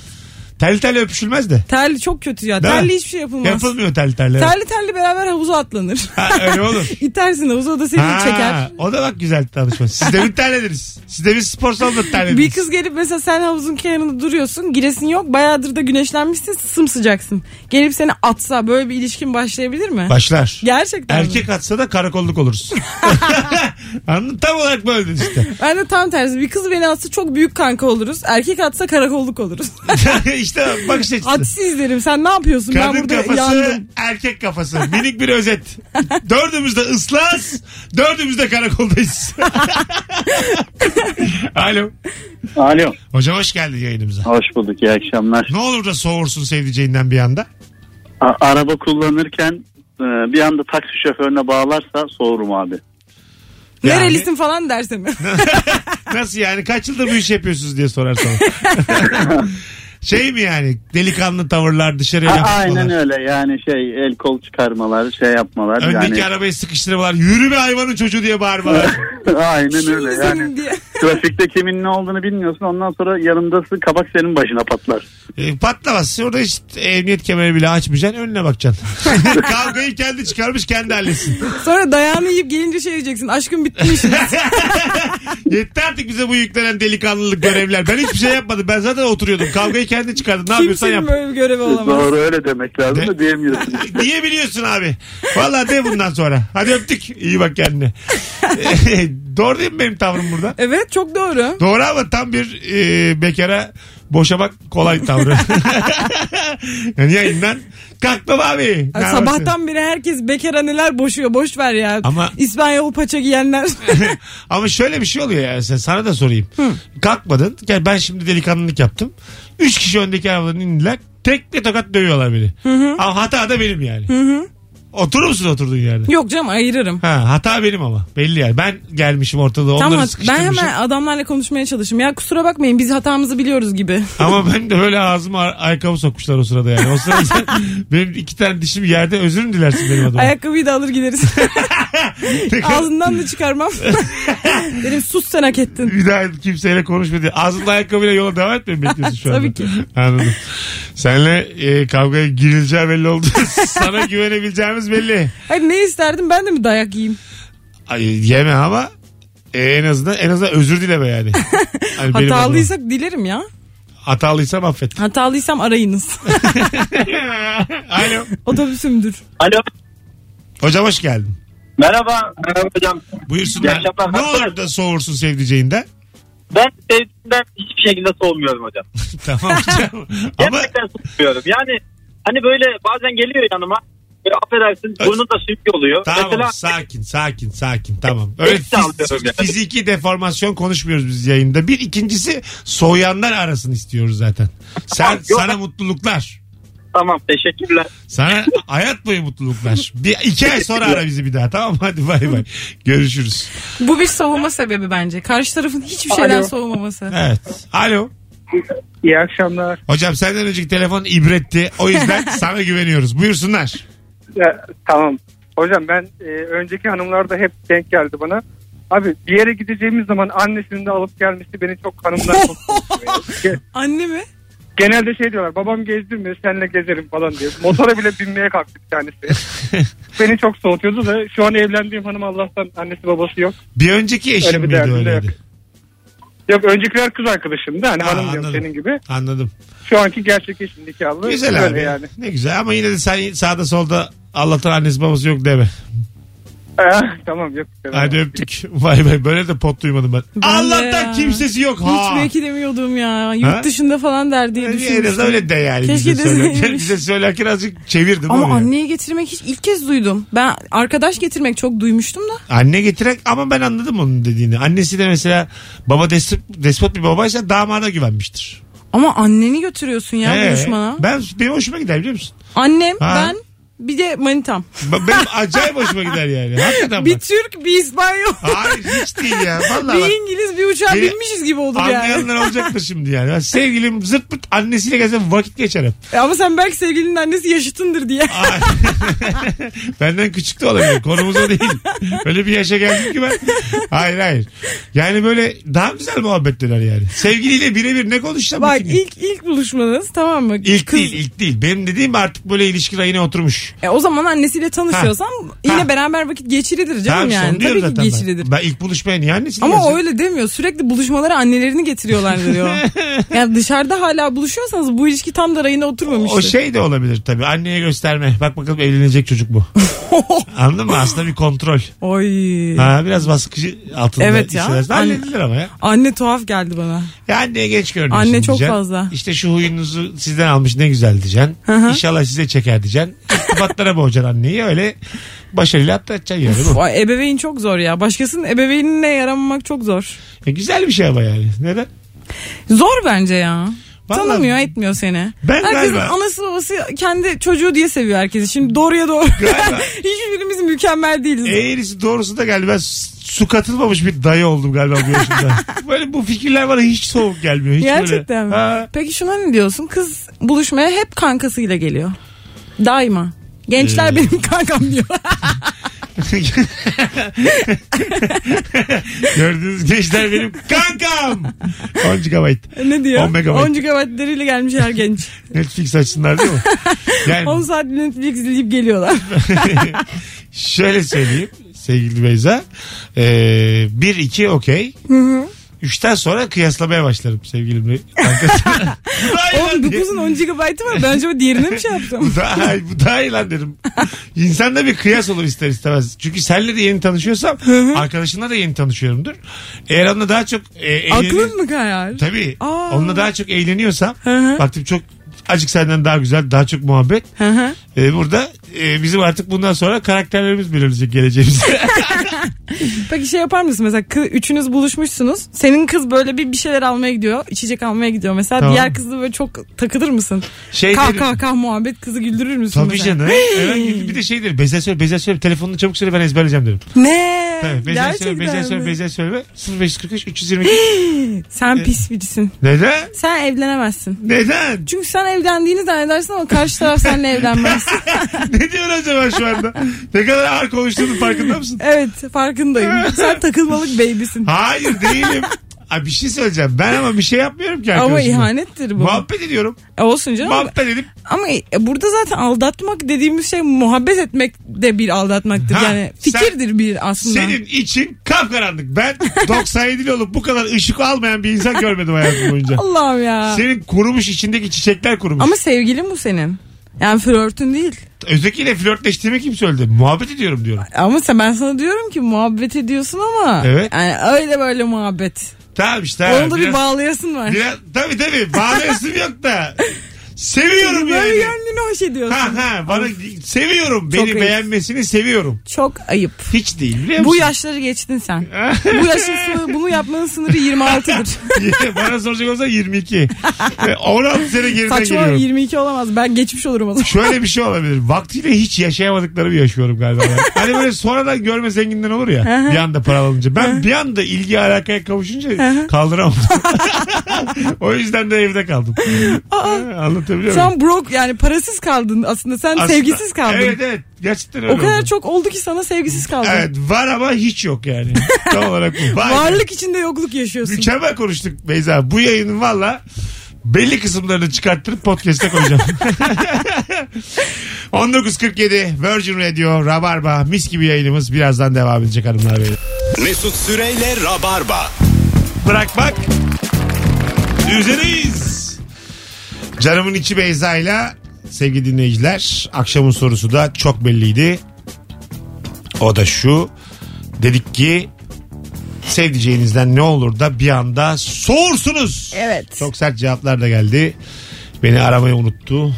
[SPEAKER 2] Terli terli öpüşülmez de.
[SPEAKER 3] Terli çok kötü ya.
[SPEAKER 2] Değil mi?
[SPEAKER 3] terli hiçbir şey yapılmaz.
[SPEAKER 2] Yapılmıyor terli terli.
[SPEAKER 3] Terli terli beraber havuza atlanır.
[SPEAKER 2] Ha, öyle olur.
[SPEAKER 3] İtersin havuza o da seni
[SPEAKER 2] Ha,
[SPEAKER 3] çeker.
[SPEAKER 2] O da bak güzel tanışma. Siz de bir terlediniz. Siz de bir spor salonunda terlediniz.
[SPEAKER 3] Bir kız gelip mesela sen havuzun kenarında duruyorsun. Giresin yok. Bayağıdır da güneşlenmişsin. Sımsıcaksın. Gelip seni atsa böyle bir ilişkin başlayabilir mi?
[SPEAKER 2] Başlar.
[SPEAKER 3] Gerçekten mi?
[SPEAKER 2] Erkek atsa da karakolluk oluruz. Anladın? Tam olarak böyle işte.
[SPEAKER 3] Ben de tam tersi. Bir kız beni atsa çok büyük kanka oluruz. Erkek atsa karakolluk oluruz.
[SPEAKER 2] işte bakış açısı.
[SPEAKER 3] Atsi izlerim. Sen ne yapıyorsun? ben
[SPEAKER 2] Kadın
[SPEAKER 3] burada
[SPEAKER 2] kafası,
[SPEAKER 3] yandım.
[SPEAKER 2] erkek kafası. Minik bir özet. Dördümüz de ıslaz, dördümüz de karakoldayız. Alo.
[SPEAKER 4] Alo.
[SPEAKER 2] Hocam hoş geldin yayınımıza.
[SPEAKER 4] Hoş bulduk. İyi akşamlar.
[SPEAKER 2] Ne olur da soğursun sevdiceğinden bir anda.
[SPEAKER 4] A- araba kullanırken e, bir anda taksi şoförüne bağlarsa soğurum abi.
[SPEAKER 2] Yani-
[SPEAKER 3] Nerelisin falan derse mi?
[SPEAKER 2] Nasıl yani? Kaç yıldır bu iş yapıyorsunuz diye sorar sana. şey mi yani? Delikanlı tavırlar, dışarıya
[SPEAKER 4] A-
[SPEAKER 2] laf
[SPEAKER 4] aynen
[SPEAKER 2] atmalar.
[SPEAKER 4] öyle yani şey el kol çıkarmalar şey yapmalar
[SPEAKER 2] Öndeki
[SPEAKER 4] yani.
[SPEAKER 2] arabayı sıkıştırmalar. Yürü be hayvanın çocuğu diye bağırmalar.
[SPEAKER 4] aynen
[SPEAKER 3] Şimdi
[SPEAKER 4] öyle
[SPEAKER 3] senin
[SPEAKER 4] yani.
[SPEAKER 3] diye.
[SPEAKER 4] Trafikte kimin ne olduğunu bilmiyorsun ondan sonra yanındası kabak senin başına patlar.
[SPEAKER 2] E, patlamaz. Orada hiç emniyet kemeri bile açmayacaksın. Önüne bakacaksın. Kavgayı kendi çıkarmış kendi halletsin.
[SPEAKER 3] Sonra dayağını yiyip gelince şey diyeceksin. Aşkım bitmiş.
[SPEAKER 2] Yetti artık bize bu yüklenen delikanlılık görevler. Ben hiçbir şey yapmadım. Ben zaten oturuyordum. Kavgayı kendi çıkardın. Ne yapıyorsan
[SPEAKER 3] Kimsenin
[SPEAKER 2] yap.
[SPEAKER 3] böyle bir görevi olamaz.
[SPEAKER 4] Doğru öyle demek lazım
[SPEAKER 2] De-
[SPEAKER 4] da diyemiyorsun.
[SPEAKER 2] Niye biliyorsun abi? Vallahi de bundan sonra. Hadi öptük. İyi bak kendine. E, Doğru değil mi benim tavrım burada?
[SPEAKER 3] Evet çok doğru.
[SPEAKER 2] Doğru ama tam bir e, bekara boşamak kolay tavrı. yani yayından kalktım abi. Ne
[SPEAKER 3] Ay,
[SPEAKER 2] yaparsın?
[SPEAKER 3] sabahtan beri herkes bekar neler boşuyor. Boş ver ya.
[SPEAKER 2] Ama-
[SPEAKER 3] İspanyol paça giyenler.
[SPEAKER 2] Ama şöyle bir şey oluyor yani sen- sana da sorayım. Kalkmadın. Gel ben şimdi delikanlılık yaptım. Üç kişi öndeki arabadan indiler. Tekle tokat dövüyorlar beni. Ama hata da benim yani. Oturur musun oturduğun yerde?
[SPEAKER 3] Yok canım ayırırım.
[SPEAKER 2] Ha, hata benim ama belli yani. Ben gelmişim ortada onları
[SPEAKER 3] Tamam ben
[SPEAKER 2] sıkıştırmışım.
[SPEAKER 3] hemen adamlarla konuşmaya çalışırım. Ya kusura bakmayın biz hatamızı biliyoruz gibi.
[SPEAKER 2] Ama ben de böyle ağzıma ar- ayakkabı sokmuşlar o sırada yani. O sırada benim iki tane dişim yerde özür mü dilersin benim adıma?
[SPEAKER 3] Ayakkabıyı da alır gideriz. Ağzından da çıkarmam. Derim sus sen hak ettin.
[SPEAKER 2] bir daha kimseyle konuşma diye. Ağzında ayakkabıyla yola devam etmeyi mi bekliyorsun şu anda?
[SPEAKER 3] Tabii ki.
[SPEAKER 2] Anladım. Seninle e, kavgaya girileceği belli oldu. Sana güvenebileceğimiz belli.
[SPEAKER 3] Hayır ne isterdim ben de mi dayak yiyeyim?
[SPEAKER 2] Ay, yeme ama e, en azından en azından özür dileme yani. Hani benim
[SPEAKER 3] Hatalıysak dilerim ya.
[SPEAKER 2] adıma. Hatalıysam affet.
[SPEAKER 3] Hatalıysam arayınız.
[SPEAKER 2] Alo.
[SPEAKER 3] Otobüsümdür.
[SPEAKER 9] Alo.
[SPEAKER 2] Hocam hoş geldin.
[SPEAKER 9] Merhaba. Merhaba hocam. İyi
[SPEAKER 2] Buyursunlar.
[SPEAKER 9] akşamlar.
[SPEAKER 2] Ne olur da soğursun sevdiceğinden.
[SPEAKER 9] Ben sevdiğimden hiçbir şekilde soğumuyorum hocam.
[SPEAKER 2] tamam hocam. Ama
[SPEAKER 9] Gerçekten soğumuyorum. Yani hani böyle bazen geliyor yanıma.
[SPEAKER 7] E, affedersin burnu da sümük oluyor.
[SPEAKER 2] Tamam
[SPEAKER 7] Mesela
[SPEAKER 2] sakin sakin sakin tamam. Öyle
[SPEAKER 7] Hepsi alıyorum yani.
[SPEAKER 2] fiziki deformasyon konuşmuyoruz biz yayında. Bir ikincisi soğuyanlar arasın istiyoruz zaten. Sen
[SPEAKER 7] Yok.
[SPEAKER 2] sana mutluluklar.
[SPEAKER 7] tamam teşekkürler.
[SPEAKER 2] Sana hayat boyu mutluluklar. Bir iki ay sonra ara bizi bir daha tamam mı? Hadi bay bay. Görüşürüz.
[SPEAKER 3] Bu bir savunma sebebi bence. Karşı tarafın hiçbir şeyden soğumaması.
[SPEAKER 2] Evet. Alo.
[SPEAKER 4] İyi akşamlar.
[SPEAKER 2] Hocam senden önceki telefon ibretti. O yüzden sana güveniyoruz. Buyursunlar.
[SPEAKER 4] Ya, tamam. Hocam ben e, önceki hanımlar da hep denk geldi bana. Abi bir yere gideceğimiz zaman annesinin de alıp gelmesi beni çok hanımlar korkutuyor.
[SPEAKER 3] Anne mi?
[SPEAKER 4] Genelde şey diyorlar babam gezdirmiyor senle gezerim falan diye. Motora bile binmeye kalktı bir tanesi. beni çok soğutuyordu da şu an evlendiğim hanım Allah'tan annesi babası yok.
[SPEAKER 2] Bir önceki eşim
[SPEAKER 4] Öyle bir
[SPEAKER 2] miydi
[SPEAKER 4] derdim de
[SPEAKER 2] öyleydi?
[SPEAKER 4] Yok öncekiler kız arkadaşım da hani
[SPEAKER 2] Ha,
[SPEAKER 4] hanım diyorum
[SPEAKER 2] anladım.
[SPEAKER 4] senin gibi.
[SPEAKER 2] Anladım.
[SPEAKER 4] Şu anki gerçek eşim nikahlı.
[SPEAKER 2] Güzel
[SPEAKER 4] Böyle
[SPEAKER 2] abi.
[SPEAKER 4] yani.
[SPEAKER 2] Ne güzel ama yine de sen sağda solda Allah'tan annesi babası yok deme.
[SPEAKER 4] Ah, tamam yok.
[SPEAKER 2] Hadi öptük. Vay vay böyle de pot duymadım ben.
[SPEAKER 3] Ben de
[SPEAKER 2] Allah'tan
[SPEAKER 3] ya.
[SPEAKER 2] kimsesi yok ha.
[SPEAKER 3] Hiç belki demiyordum ya. Yurt
[SPEAKER 2] Ha?
[SPEAKER 3] dışında falan der diye
[SPEAKER 2] Yani en azından
[SPEAKER 3] düşünmüştüm.
[SPEAKER 2] öyle de yani.
[SPEAKER 3] Keşke
[SPEAKER 2] bize, söylerken,
[SPEAKER 3] deseymiş.
[SPEAKER 2] bize söylerken azıcık çevirdim.
[SPEAKER 3] Ama
[SPEAKER 2] oraya.
[SPEAKER 3] anneye getirmek hiç ilk kez duydum. Ben arkadaş getirmek çok duymuştum da.
[SPEAKER 2] Anne getirerek ama ben anladım onun dediğini. Annesi de mesela baba despot, despot bir babaysa damada güvenmiştir.
[SPEAKER 3] Ama anneni götürüyorsun ya
[SPEAKER 2] Ee,
[SPEAKER 3] buluşmana.
[SPEAKER 2] Ben, benim hoşuma gider biliyor musun?
[SPEAKER 3] Annem,
[SPEAKER 2] Ha.
[SPEAKER 3] ben, bir de manitam.
[SPEAKER 2] Ba- Benim acayip hoşuma gider yani. Hakikaten
[SPEAKER 3] Bir
[SPEAKER 2] bak.
[SPEAKER 3] Türk, bir İspanyol,
[SPEAKER 2] Hayır hiç değil ya. Vallahi bak.
[SPEAKER 3] bir İngiliz, bir uçağa
[SPEAKER 2] Beni
[SPEAKER 3] binmişiz gibi olduk yani.
[SPEAKER 2] Anlayanlar olacaktır şimdi yani. Ben sevgilim zırt pırt annesiyle gelsem vakit geçerim.
[SPEAKER 3] Ama sen belki sevgilinin annesi yaşıtındır diye.
[SPEAKER 2] Ay. Benden küçük de olabilir. Konumuz o değil. Öyle bir yaşa geldim ki ben. Hayır hayır. Yani böyle daha güzel muhabbet döner yani. Sevgiliyle birebir ne konuşsam
[SPEAKER 3] Bak
[SPEAKER 2] bütün gün.
[SPEAKER 3] ilk ilk buluşmanız tamam mı?
[SPEAKER 2] İlk
[SPEAKER 3] Kız-
[SPEAKER 2] değil ilk değil. Benim dediğim artık böyle ilişki rayına oturmuş.
[SPEAKER 3] E, o zaman annesiyle tanışıyorsan yine
[SPEAKER 2] Ha.
[SPEAKER 3] beraber vakit geçirilir canım
[SPEAKER 2] Tamam
[SPEAKER 3] yani.
[SPEAKER 2] son diyorum
[SPEAKER 3] Tabii ki
[SPEAKER 2] zaten
[SPEAKER 3] geçirilir.
[SPEAKER 2] ben. ben. ilk buluşmaya niye annesiyle
[SPEAKER 3] Ama o
[SPEAKER 2] gelsin?
[SPEAKER 3] öyle demiyor. Sürekli buluşmalara annelerini getiriyorlar diyor. yani dışarıda hala buluşuyorsanız bu ilişki tam da rayına oturmamıştır.
[SPEAKER 2] O şey de olabilir tabii. Anneye gösterme. Bak bakalım evlenecek çocuk bu. Anladın mı? Aslında bir kontrol.
[SPEAKER 3] Oy.
[SPEAKER 2] Ha biraz baskı altında.
[SPEAKER 3] Evet ya.
[SPEAKER 2] hissedersin. Halledilir ama ya.
[SPEAKER 3] Anne tuhaf geldi bana.
[SPEAKER 2] Ya anneye geç görünüyorsun
[SPEAKER 3] Anne çok
[SPEAKER 2] diyeceksin.
[SPEAKER 3] fazla.
[SPEAKER 2] İşte şu huyunuzu sizden almış ne güzel diyeceksin.
[SPEAKER 3] hı.
[SPEAKER 2] İnşallah size çeker diyeceksin. İrtibatlara boğacaksın anneyi öyle başarıyla atlatacaksın yani.
[SPEAKER 3] Uf,
[SPEAKER 2] bu.
[SPEAKER 3] ay, ebeveyn çok zor ya. Başkasının ebeveynine yaramamak çok zor.
[SPEAKER 2] E, güzel bir şey ama yani. Neden?
[SPEAKER 3] Zor bence ya.
[SPEAKER 2] Vallahi-
[SPEAKER 3] Tanımıyor etmiyor seni.
[SPEAKER 2] Ben
[SPEAKER 3] Herkesin
[SPEAKER 2] galiba-
[SPEAKER 3] anası babası kendi çocuğu diye seviyor herkesi. Şimdi doğruya doğru.
[SPEAKER 2] Galiba.
[SPEAKER 3] Hiçbirimiz mükemmel değiliz.
[SPEAKER 2] Eğrisi E, doğrusu da galiba s- su katılmamış bir dayı oldum galiba bu yaşımda. böyle bu fikirler bana hiç soğuk gelmiyor. Hiç böyle.
[SPEAKER 3] Gerçekten mi?
[SPEAKER 2] Ha.
[SPEAKER 3] Peki şuna ne diyorsun? Kız buluşmaya hep kankasıyla geliyor. Daima. Gençler
[SPEAKER 2] Ee.
[SPEAKER 3] benim kankam diyor.
[SPEAKER 2] Gördüğünüz gençler benim kankam. 10 GB.
[SPEAKER 3] ne diyor?
[SPEAKER 2] 10 megabayt.
[SPEAKER 3] 10 gigabaytlarıyla gelmiş her genç.
[SPEAKER 2] Netflix açsınlar değil mi?
[SPEAKER 3] 10
[SPEAKER 2] Yani
[SPEAKER 3] saat Netflix izleyip geliyorlar.
[SPEAKER 2] şöyle söyleyeyim sevgili Beyza. 1-2 okey. Üçten sonra kıyaslamaya başlarım sevgili Bey. Kankası. Bu daha iyi lan
[SPEAKER 3] Oğlum
[SPEAKER 2] diye.
[SPEAKER 3] 9'un 10 gigabaytı var. Ben acaba diğerine mi şey yaptım?
[SPEAKER 2] Bu daha, iyi- bu daha iyi lan derim. İnsanda bir kıyas olur ister istemez. Çünkü senle de yeni tanışıyorsam arkadaşınla da yeni tanışıyorumdur. Eğer onunla daha çok e, eğleni-
[SPEAKER 3] Aklın mı kayar?
[SPEAKER 2] Tabii.
[SPEAKER 3] Aa.
[SPEAKER 2] Onunla daha çok eğleniyorsam
[SPEAKER 3] Hı hı.
[SPEAKER 2] baktım çok acık senden daha güzel, daha çok muhabbet.
[SPEAKER 3] Hı hı.
[SPEAKER 2] E, burada e, bizim artık bundan sonra karakterlerimiz belirleyecek geleceğimizde.
[SPEAKER 3] Peki şey yapar mısın mesela kı- üçünüz buluşmuşsunuz. Senin kız böyle bir bir şeyler almaya gidiyor. içecek almaya gidiyor mesela.
[SPEAKER 2] Tamam.
[SPEAKER 3] Diğer kızla böyle çok takılır mısın?
[SPEAKER 2] şey
[SPEAKER 3] Kah
[SPEAKER 2] derim-
[SPEAKER 3] kah kah muhabbet kızı güldürür müsün
[SPEAKER 2] Tabii
[SPEAKER 3] mesela?
[SPEAKER 2] canım. Hemen gidip bir de şey derim. Bezel söyle, bezel söyle. Telefonunu çabuk söyle ben ezberleyeceğim derim.
[SPEAKER 3] Ne?
[SPEAKER 2] Tabii, bezel
[SPEAKER 3] Gerçekten
[SPEAKER 2] söyle, bezel söyle,
[SPEAKER 3] mi?
[SPEAKER 2] bezel söyle. 0543 322. E,
[SPEAKER 3] Sen pis birisin.
[SPEAKER 2] Neden?
[SPEAKER 3] Sen evlenemezsin.
[SPEAKER 2] Neden?
[SPEAKER 3] Çünkü sen evlendiğini zannedersin ama karşı taraf seninle evlenmez.
[SPEAKER 2] ne diyorsun acaba şu anda? Ne kadar ağır konuştuğunun farkında mısın?
[SPEAKER 3] evet farkındayım. Sen takılmalık babysin.
[SPEAKER 2] Hayır değilim. Abi bir şey söyleyeceğim. Ben ama bir şey yapmıyorum ki
[SPEAKER 3] Ama
[SPEAKER 2] arkadaşımla.
[SPEAKER 3] ihanettir bu.
[SPEAKER 2] Muhabbet ediyorum.
[SPEAKER 3] E, olsun canım.
[SPEAKER 2] Muhabbet edip
[SPEAKER 3] Ama e, burada zaten aldatmak dediğimiz şey muhabbet etmek de bir aldatmaktır.
[SPEAKER 2] Ha,
[SPEAKER 3] yani
[SPEAKER 2] sen-
[SPEAKER 3] fikirdir bir aslında.
[SPEAKER 2] senin için kapkaranlık. Ben 97'li olup bu kadar ışık almayan bir insan görmedim hayatım boyunca.
[SPEAKER 3] Allah'ım ya.
[SPEAKER 2] Senin kurumuş içindeki çiçekler kurumuş.
[SPEAKER 3] Ama sevgilin bu senin. Yani flörtün değil.
[SPEAKER 2] Özdekiyle flörtleştiğimi kim söyledi? Muhabbet ediyorum diyorum.
[SPEAKER 3] Ama sen ben sana diyorum ki muhabbet ediyorsun ama
[SPEAKER 2] Evet.
[SPEAKER 3] yani öyle böyle muhabbet.
[SPEAKER 2] Tamam işte.
[SPEAKER 3] Onda
[SPEAKER 2] biraz-
[SPEAKER 3] bir bağlayasın var.
[SPEAKER 2] Biraz, tabii tabii. Bağlayasım yok da. Seviyorum
[SPEAKER 3] Böyle
[SPEAKER 2] yani.
[SPEAKER 3] gönlünü hoş ediyorsun.
[SPEAKER 2] Ha ha bana seviyorum.
[SPEAKER 3] Çok
[SPEAKER 2] Beni
[SPEAKER 3] ayıp.
[SPEAKER 2] beğenmesini seviyorum.
[SPEAKER 3] Çok ayıp.
[SPEAKER 2] Hiç değil biliyor musun?
[SPEAKER 3] Bu yaşları geçtin sen. Bu yaşın sınırı, bunu yapmanın sınırı 26'dır.
[SPEAKER 2] Bana soracak olsa 22. Ve 16 sene geriden
[SPEAKER 3] Saçma
[SPEAKER 2] geliyorum.
[SPEAKER 3] 22 olamaz. Ben geçmiş olurum o zaman.
[SPEAKER 2] Şöyle bir şey olabilir. Vaktiyle hiç yaşayamadıklarımı yaşıyorum galiba. ben. hani böyle sonradan görme zenginden olur ya. bir anda paralanınca. Ben bir anda ilgi alakaya kavuşunca kaldıramam. o yüzden de evde kaldım. Anlatabiliyor
[SPEAKER 3] Şu
[SPEAKER 2] muyum?
[SPEAKER 3] an broke yani parasız kaldın aslında. Sen
[SPEAKER 2] Aslında-
[SPEAKER 3] sevgisiz kaldın.
[SPEAKER 2] Evet evet. Gerçekten öyle
[SPEAKER 3] O kadar
[SPEAKER 2] oldu.
[SPEAKER 3] çok oldu ki sana sevgisiz kaldın.
[SPEAKER 2] Evet var ama hiç yok yani. Tam olarak bu. Vay be.
[SPEAKER 3] Varlık içinde yokluk yaşıyorsun.
[SPEAKER 2] Mükemmel konuştuk Beyza. Bu yayının valla belli kısımlarını çıkarttırıp podcast'e koyacağım. 19.47 Virgin Radio Rabarba mis gibi yayınımız birazdan devam edecek hanımlar beyler.
[SPEAKER 1] Mesut Süreyle Rabarba.
[SPEAKER 2] Bırakmak üzereyiz. Canımın içi Beyza'yla sevgili dinleyiciler akşamın sorusu da çok belliydi. O da şu dedik ki sevdiceğinizden ne olur da bir anda soğursunuz.
[SPEAKER 3] Evet.
[SPEAKER 2] Çok sert cevaplar da geldi. Beni aramayı unuttu.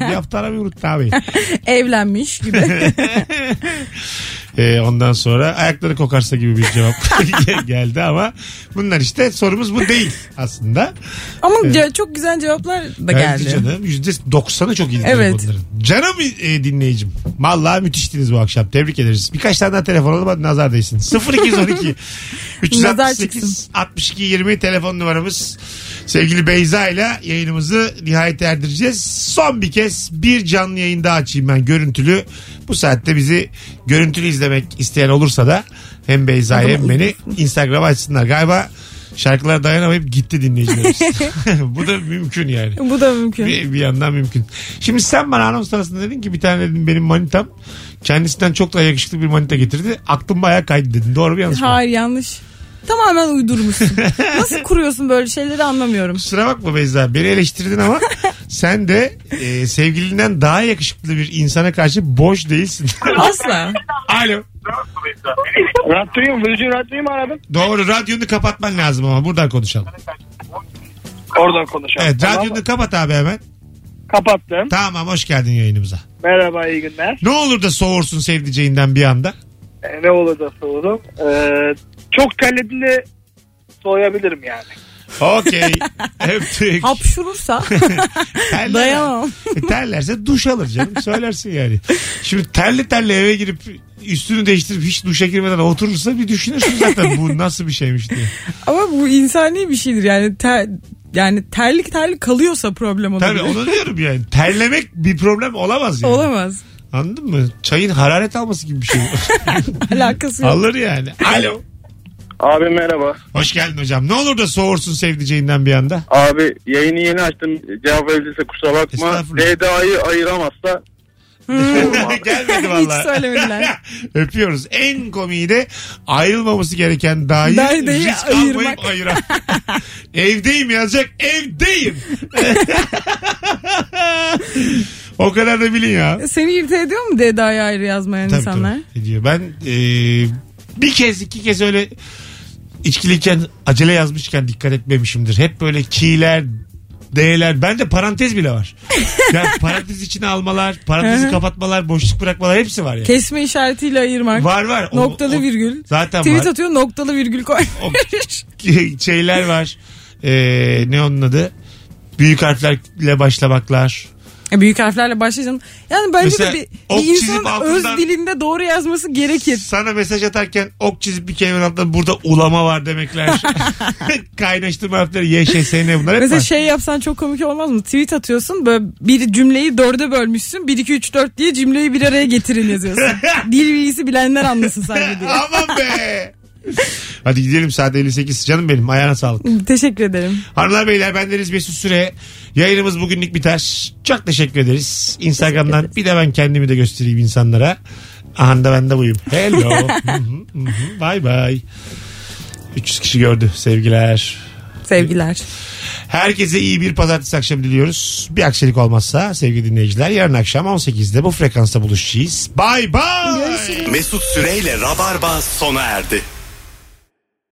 [SPEAKER 2] bir hafta aramayı unuttu abi.
[SPEAKER 3] Evlenmiş gibi.
[SPEAKER 2] Ee, ondan sonra ayakları kokarsa gibi bir cevap geldi ama bunlar işte sorumuz bu değil aslında.
[SPEAKER 3] Ama ce- çok güzel cevaplar da
[SPEAKER 2] Geldi
[SPEAKER 3] geldi.
[SPEAKER 2] canım. %90'ı çok iyi
[SPEAKER 3] Evet.
[SPEAKER 2] bunların. Canım e, dinleyicim. Vallahi müthiştiniz bu akşam. Tebrik ederiz. Birkaç tane daha telefon alalım hadi nazar değsin. 0212
[SPEAKER 3] Nazar
[SPEAKER 2] 368
[SPEAKER 3] çıksın.
[SPEAKER 2] 62 20 telefon numaramız. Sevgili Beyza ile yayınımızı nihayete erdireceğiz. Son bir kez bir canlı yayın daha açayım ben görüntülü. Bu saatte bizi görüntülü izlemek isteyen olursa da hem Beyza'yı hem beni Instagram'a açsınlar. Galiba şarkılara dayanamayıp gitti dinleyicilerimiz. Bu da mümkün yani.
[SPEAKER 3] Bu da mümkün.
[SPEAKER 2] Bir, bir yandan mümkün. Şimdi sen bana anons sırasında dedin ki bir tane dedim benim manitam. Kendisinden çok daha yakışıklı bir manita getirdi. Aklım bayağı kaydı dedin. Doğru mu yanlış mı?
[SPEAKER 3] Hayır yanlış. Tamamen uydurmuşsun. Nasıl kuruyorsun böyle şeyleri anlamıyorum.
[SPEAKER 2] Kusura bakma Beyza beni eleştirdin ama sen de e, sevgilinden daha yakışıklı bir insana karşı boş değilsin.
[SPEAKER 3] Asla.
[SPEAKER 2] Alo.
[SPEAKER 4] Radyoyu mu? Virgin Radyoyu mu aradın?
[SPEAKER 2] Doğru radyonu kapatman lazım ama buradan konuşalım.
[SPEAKER 4] Oradan konuşalım.
[SPEAKER 2] Evet
[SPEAKER 4] Tamam.
[SPEAKER 2] radyonu kapat abi hemen.
[SPEAKER 4] Kapattım.
[SPEAKER 2] Tamam hoş geldin yayınımıza.
[SPEAKER 4] Merhaba iyi günler.
[SPEAKER 2] Ne olur da soğursun sevdiceğinden bir anda.
[SPEAKER 4] Ee, ne olur da soğudum. Ee, çok terledim de soğuyabilirim yani.
[SPEAKER 2] Okey. Öptük.
[SPEAKER 3] Hapşurursa
[SPEAKER 2] Terler-
[SPEAKER 3] dayanamam.
[SPEAKER 2] E, terlerse duş alır canım. Söylersin yani. Şimdi terli terli eve girip üstünü değiştirip hiç duşa girmeden oturursa bir düşünürsün zaten bu nasıl bir şeymiş diye.
[SPEAKER 3] Ama bu insani bir şeydir yani ter, yani terlik terlik kalıyorsa problem olabilir.
[SPEAKER 2] Tabii onu diyorum yani. Terlemek bir problem olamaz yani.
[SPEAKER 3] Olamaz.
[SPEAKER 2] Anladın mı? Çayın hararet alması gibi bir şey. bu.
[SPEAKER 3] Alakası yok.
[SPEAKER 2] Alır yani. Alo.
[SPEAKER 5] Abi merhaba.
[SPEAKER 2] Hoş geldin hocam. Ne olur da soğursun sevdiceğinden bir anda.
[SPEAKER 5] Abi yayını yeni açtım. Cevap verilirse kusura bakma.
[SPEAKER 2] Estağfurullah.
[SPEAKER 5] Leyda'yı ayıramazsa
[SPEAKER 2] Gelmedi valla.
[SPEAKER 3] Hiç söylemediler.
[SPEAKER 2] Öpüyoruz. En komiği de ayrılmaması gereken dahi
[SPEAKER 3] Daireyi
[SPEAKER 2] risk almayıp
[SPEAKER 3] ayırmak.
[SPEAKER 2] ayıran. Evdeyim yazacak. Evdeyim. o kadar da bilin ya.
[SPEAKER 3] Seni irite ediyor mu Deda'ya ayrı yazmayan
[SPEAKER 2] Tabii,
[SPEAKER 3] insanlar?
[SPEAKER 2] tabii. Ediyor. Ben e, bir kez iki kez öyle içkiliyken acele yazmışken dikkat etmemişimdir. Hep böyle ki'ler D'ler. Bende parantez bile var. Yani parantez içine almalar, parantezi kapatmalar, boşluk bırakmalar hepsi var yani.
[SPEAKER 3] Kesme işaretiyle ayırmak.
[SPEAKER 2] Var var. O-
[SPEAKER 3] Noktalı
[SPEAKER 2] o-
[SPEAKER 3] virgül.
[SPEAKER 2] Zaten
[SPEAKER 3] Tweet
[SPEAKER 2] var.
[SPEAKER 3] atıyor noktalı virgül koy.
[SPEAKER 2] O- şeyler var. Ee, ne onun adı? Büyük harflerle başlamaklar.
[SPEAKER 3] E, Büyük harflerle başlayacağım. Yani bence
[SPEAKER 2] Mesela
[SPEAKER 3] de bir,
[SPEAKER 2] ok
[SPEAKER 3] bir
[SPEAKER 2] çizip
[SPEAKER 3] insanın
[SPEAKER 2] altından-
[SPEAKER 3] öz dilinde doğru yazması gerekir.
[SPEAKER 2] Sana mesaj atarken ok çizip bir kelimenin altında burada ulama var demekler. Kaynaştırma harfleri YŞSN bunlar hep
[SPEAKER 3] Mesela
[SPEAKER 2] var.
[SPEAKER 3] şey yapsan çok komik olmaz mı? Tweet atıyorsun böyle bir cümleyi dörde bölmüşsün. 1 2 3 4 diye cümleyi bir araya getirin yazıyorsun. Dil bilgisi bilenler anlasın sadece diye.
[SPEAKER 2] Aman be. Hadi gidelim saat 58. Canım benim ayağına sağlık.
[SPEAKER 3] Teşekkür ederim.
[SPEAKER 2] Hanımlar beyler bendeniz Mesut Süre. Yayınımız bugünlük biter. Çok teşekkür ederiz. Instagram'dan bir de ben kendimi de göstereyim insanlara. Aha da ben de buyum. Hello. Hı hı, hı hı. bye bye. 300 kişi gördü sevgiler.
[SPEAKER 3] Sevgiler.
[SPEAKER 2] Herkese iyi bir pazartesi akşamı diliyoruz. Bir aksilik olmazsa sevgili dinleyiciler yarın akşam 18'de bu frekansta buluşacağız. Bye bye.
[SPEAKER 1] Mesut Süreyle Rabarba sona erdi.